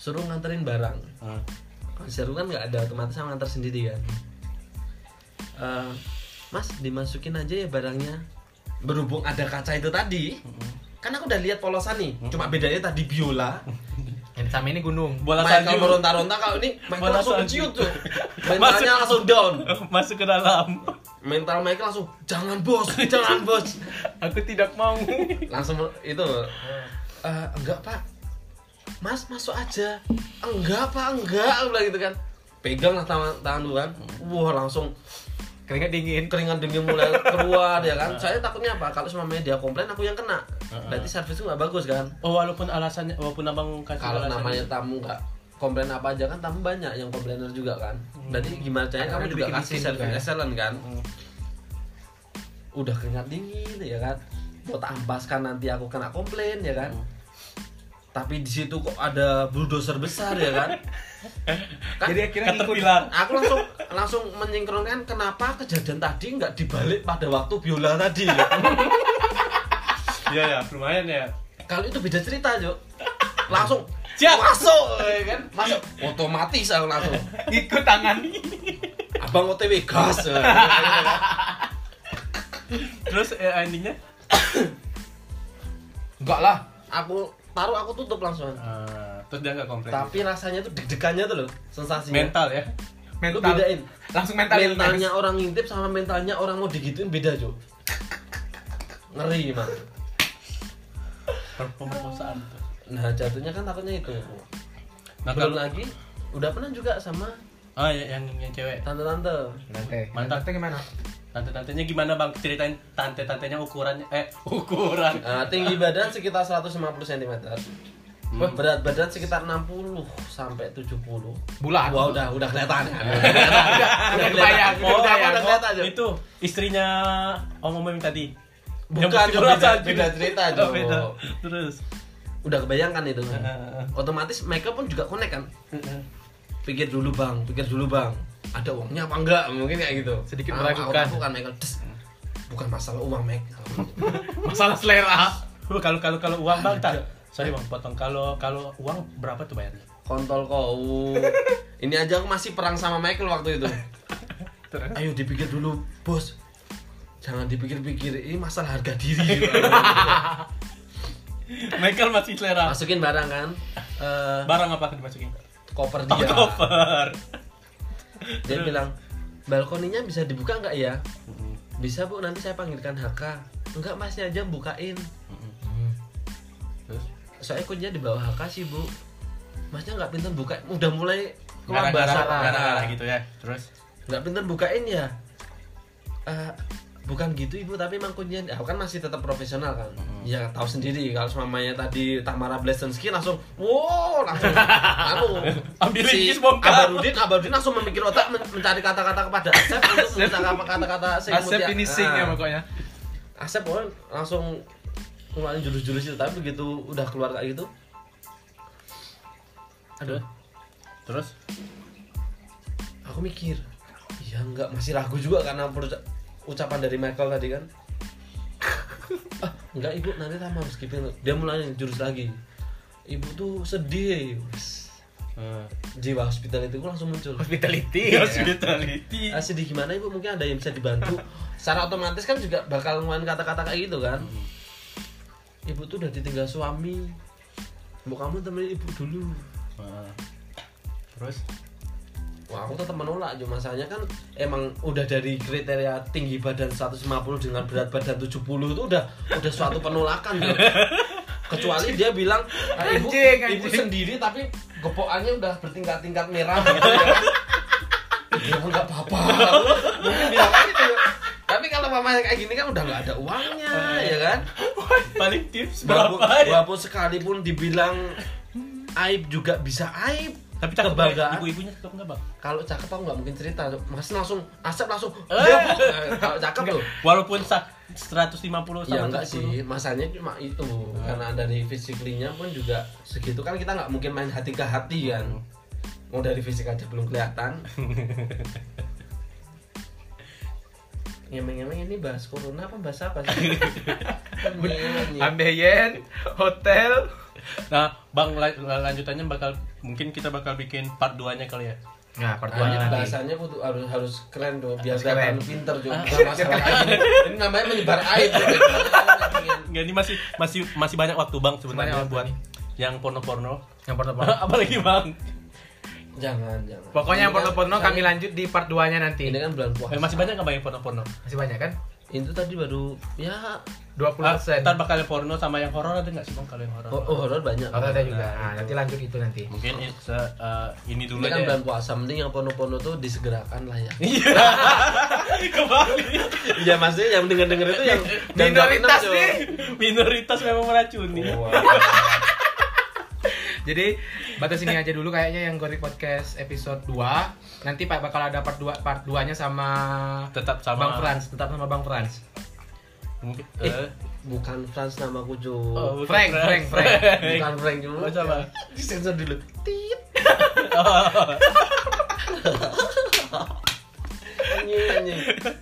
S2: suruh nganterin barang
S1: Heeh.
S2: seru kan nggak ada otomatis sama nganter sendiri kan Eh, mas dimasukin aja ya barangnya berhubung ada kaca itu tadi kan aku udah lihat polosan nih cuma bedanya tadi biola
S3: Yang sama ini gunung.
S1: Bola salju
S2: Michael meronta-ronta kalau ini Michael
S1: Bola
S2: langsung
S1: salju.
S2: keciut tuh.
S1: Masuk.
S2: Mentalnya langsung down.
S1: (laughs) masuk ke dalam. (laughs)
S2: Mental Michael langsung jangan bos, jangan bos.
S3: Aku tidak mau.
S2: Langsung itu "Eh, enggak pak, Mas masuk aja. Enggak pak, enggak Aku bilang gitu kan. Pegang lah tangan tangan lu kan. Wah langsung
S3: Keringat dingin. (laughs)
S2: keringan dingin mulai keluar ya kan. Saya takutnya apa? Kalau semuanya dia komplain aku yang kena. Berarti servisku nggak bagus kan.
S1: (laughs) Oh, walaupun alasannya walaupun Abang kasih
S2: kalau
S1: alasan-
S2: namanya tamu nggak komplain apa aja kan tamu banyak yang komplainer juga kan berarti gimana caranya kamu
S3: Karena
S2: juga
S3: dibikin
S2: kasih
S3: mesin
S2: service
S3: juga.
S2: excellent kan
S1: Hmm.
S2: udah keringat dingin ya kan mau tak ampaskan nanti aku kena komplain ya kan tapi di situ kok ada bulldozer besar ya kan Kan
S3: Jadi akhirnya ngikut.
S1: Caterpillar.
S2: aku langsung langsung menyinkronkan kenapa kejadian tadi nggak dibalik pada waktu biola tadi
S1: (laughs)
S2: ya kan?
S1: Iya ya, lumayan ya.
S2: kalau itu beda cerita
S1: (laughs)
S2: Jo langsung
S1: Siap.
S2: masuk ya kan masuk otomatis aku langsung
S3: Ikut tangan.
S2: abang OTW gas ya.
S1: Terus eh, endingnya?
S3: Enggak lah.
S2: aku taruh aku tutup langsung
S1: Eh, terus dia nggak komplain.
S2: tapi rasanya tuh deg-degannya tuh loh sensasinya
S1: mental ya.
S2: Lu
S3: Mental.
S2: bedain.
S3: Langsung mental.
S2: mentalnya orang ngintip sama mentalnya orang mau digituin beda Jo ngeri mah
S1: Pemerkosaan tuh.
S2: nah jatuhnya kan takutnya itu
S1: Nah,
S2: belum
S1: kalau-
S2: lagi udah pernah juga sama
S1: Ah, ya, yang yang cewek.
S2: tante-tante
S3: Nanti.
S1: Mantap.
S3: Nanti gimana?
S1: Tante-tantenya gimana bang? Ceritain tante-tantenya ukurannya. Eh,
S2: (laughs)
S1: ukuran.
S2: Nah, tinggi badan sekitar 150 cm berat badan sekitar 60 sampai 70
S3: Bulat.
S2: Wah udah udah kelihatan kan.
S3: Udah kebayang.
S1: Oh,
S3: Udah
S2: apa
S3: kebayang.
S2: ada- Lihat aja.
S1: itu istrinya Om Om yang tadi.
S2: Bukan,
S1: Yang pasti
S2: Jo,
S1: bola
S2: beda-
S1: salju.
S2: beda cerita,
S1: Oh,
S2: Jo.
S1: (laughs) beda. Terus.
S2: Udah kebayangkan itu.
S1: Heeh.
S2: Otomatis mereka pun juga connect kan. Pikir dulu bang, pikir dulu bang. Ada uangnya apa enggak? Mungkin kayak gitu.
S3: Sedikit
S2: Ah,
S3: meragukan.
S2: aku Bukan Michael. Des. Bukan masalah uang Michael.
S3: Masalah selera.
S1: Uh, (laughs) Kalau kalau kalau uang bang, tar. Sorry bang, potong. Kalau kalau uang berapa tuh bayarnya?
S2: Kontol kau. Ini aja aku masih perang sama Michael waktu itu. Ayo dipikir dulu bos. Jangan dipikir-pikir ini masalah harga
S1: (laughs)
S2: diri.
S1: Michael masih selera.
S2: Masukin barang kan. Eh,
S1: Barang apa dimasukin?
S2: koper
S1: Oh,
S2: dia.
S1: Koper.
S2: Dia bilang, balkoninya bisa dibuka nggak ya? Bisa bu, nanti saya panggilkan HK. Enggak masnya aja bukain.
S1: Terus.
S2: soalnya kuncinya di bawah hak kasih bu masnya nggak pinter buka udah mulai keluar
S1: Gara-gara
S2: bahasa.
S1: gara-gara gitu ya. Terus
S2: nggak pinter bukain ya Eh, bukan gitu ibu tapi emang kuncian aku kan masih tetap profesional kan ya tahu sendiri kalau mamanya tadi Tamara Blesensky langsung wow langsung anu
S1: Ambil linggis, bongkar.
S2: Abarudin Abarudin langsung memikir otak men- mencari kata-kata kepada Asep untuk minta kata-kata sing
S4: Asep
S2: mutia-
S4: finishing ya
S2: Ah.
S4: pokoknya.
S2: Asep orang langsung ngeluarin jurus-jurus itu tapi begitu udah keluar kayak gitu aduh
S1: terus
S2: aku mikir ya nggak masih ragu juga karena peruca- ucapan dari Michael tadi kan ah, nggak ibu nanti sama harus skipping dia mulai jurus lagi ibu tuh sedih eh, Wes,
S1: eh,
S2: jiwa hospital itu langsung muncul
S3: Hospitality.
S1: ya hospitality.
S2: ah, sedih gimana ibu mungkin ada yang bisa dibantu secara otomatis kan juga bakal ngeluarin kata-kata kayak gitu kan ibu tuh udah ditinggal suami mau kamu temenin ibu dulu
S1: Nah, Terus
S2: Wah, aku tetap menolak cuma masalahnya kan emang udah dari kriteria tinggi badan 150 dengan berat badan 70 itu udah udah suatu penolakan tuh. Kecuali dia bilang "Ah, ibu
S4: Anjing,
S2: ibu
S4: anjing.
S2: sendiri tapi gepokannya udah bertingkat-tingkat merah gitu ya. Ya enggak apa-apa. Mungkin bilang gitu. Tapi kalau mamanya kayak gini kan udah nggak ada uangnya, ya kan?
S1: paling tips
S2: Walaupun,
S1: berapa ya?
S2: walaupun sekalipun dibilang aib juga bisa aib.
S1: Tapi cakep Bang.
S2: kebanggaan
S1: Ibu-ibunya cakep enggak, Bang?
S2: kalau cakep aku nggak mungkin cerita mas langsung asap langsung iya bu Eh, kalau cakep loh
S1: Walaupun sa 150 sama
S2: ya
S1: 110.
S2: enggak sih masanya cuma itu karena dari fisiklinya pun juga segitu kan kita nggak mungkin main hati ke hati kan mau dari fisik aja belum kelihatan (laughs) ngemeng-ngemeng ini bahas corona apa bahas apa (laughs) sih Ngemeng-ngemeng.
S4: Ambeien, hotel.
S1: Nah, Bang la- la- lanjutannya bakal mungkin kita bakal bikin part 2-nya kali ya.
S3: Nah, pertuanya
S2: Pokoknya
S3: nanti.
S2: bahasanya kudu harus harus keren Ah. dong, biar
S3: Harus keren.
S2: kelihatan pinter juga. Bukan masalah aib. Ini namanya menyebar aib. Jo. (laughs)
S1: Enggak ini masih masih masih banyak waktu, Bang, sebenarnya
S3: Banyak waktu
S1: buat yang porno-porno.
S3: Yang porno-porno.
S1: (laughs) Apalagi, Bang?
S2: Jangan, jangan.
S3: Pokoknya yang
S2: Ini kan-
S3: porno-porno kami lanjut di part 2-nya nanti.
S2: Ini kan bulan puasa.
S1: Eh, masih banyak nggak Bang yang porno-porno?
S3: Masih banyak kan?
S2: Itu tadi baru ya
S3: 20%.
S1: Ah, Ntar bakal yang porno sama yang horor ada nggak sih Bang kalau yang horor?
S2: hor- horor banyak.
S3: Oh, ada juga. Nah, nanti lanjut itu nanti.
S1: Mungkin it's, uh, uh, ini dulu
S2: Ini kan
S1: aja.
S2: bulan puasa, mending yang porno-porno tuh disegerakan lah ya.
S1: (laughs) Iya. Kembali.
S2: Iya maksudnya yang denger-denger itu (laughs) yang
S4: Minoritas nih.
S1: Minoritas memang meracuni.
S2: Oh,
S3: Jadi batas ini aja dulu kayaknya yang Gori Podcast episode 2. Nanti Pak bakal ada part 2 part 2-nya sama
S1: Tetap sama.
S3: Bang Franz, tetap sama Bang Franz.
S1: Mungkin
S2: Eh,
S1: eh,
S2: bukan Franz nama aku Jo.
S1: oh, bukan
S3: Frank,
S1: Franz.
S3: Frank, Frank.
S1: (laughs)
S2: Bukan Frank dulu.
S1: Oh, siapa?
S2: Disensor dulu. Tit.
S1: Oh.
S2: (laughs) Anjing, anjing.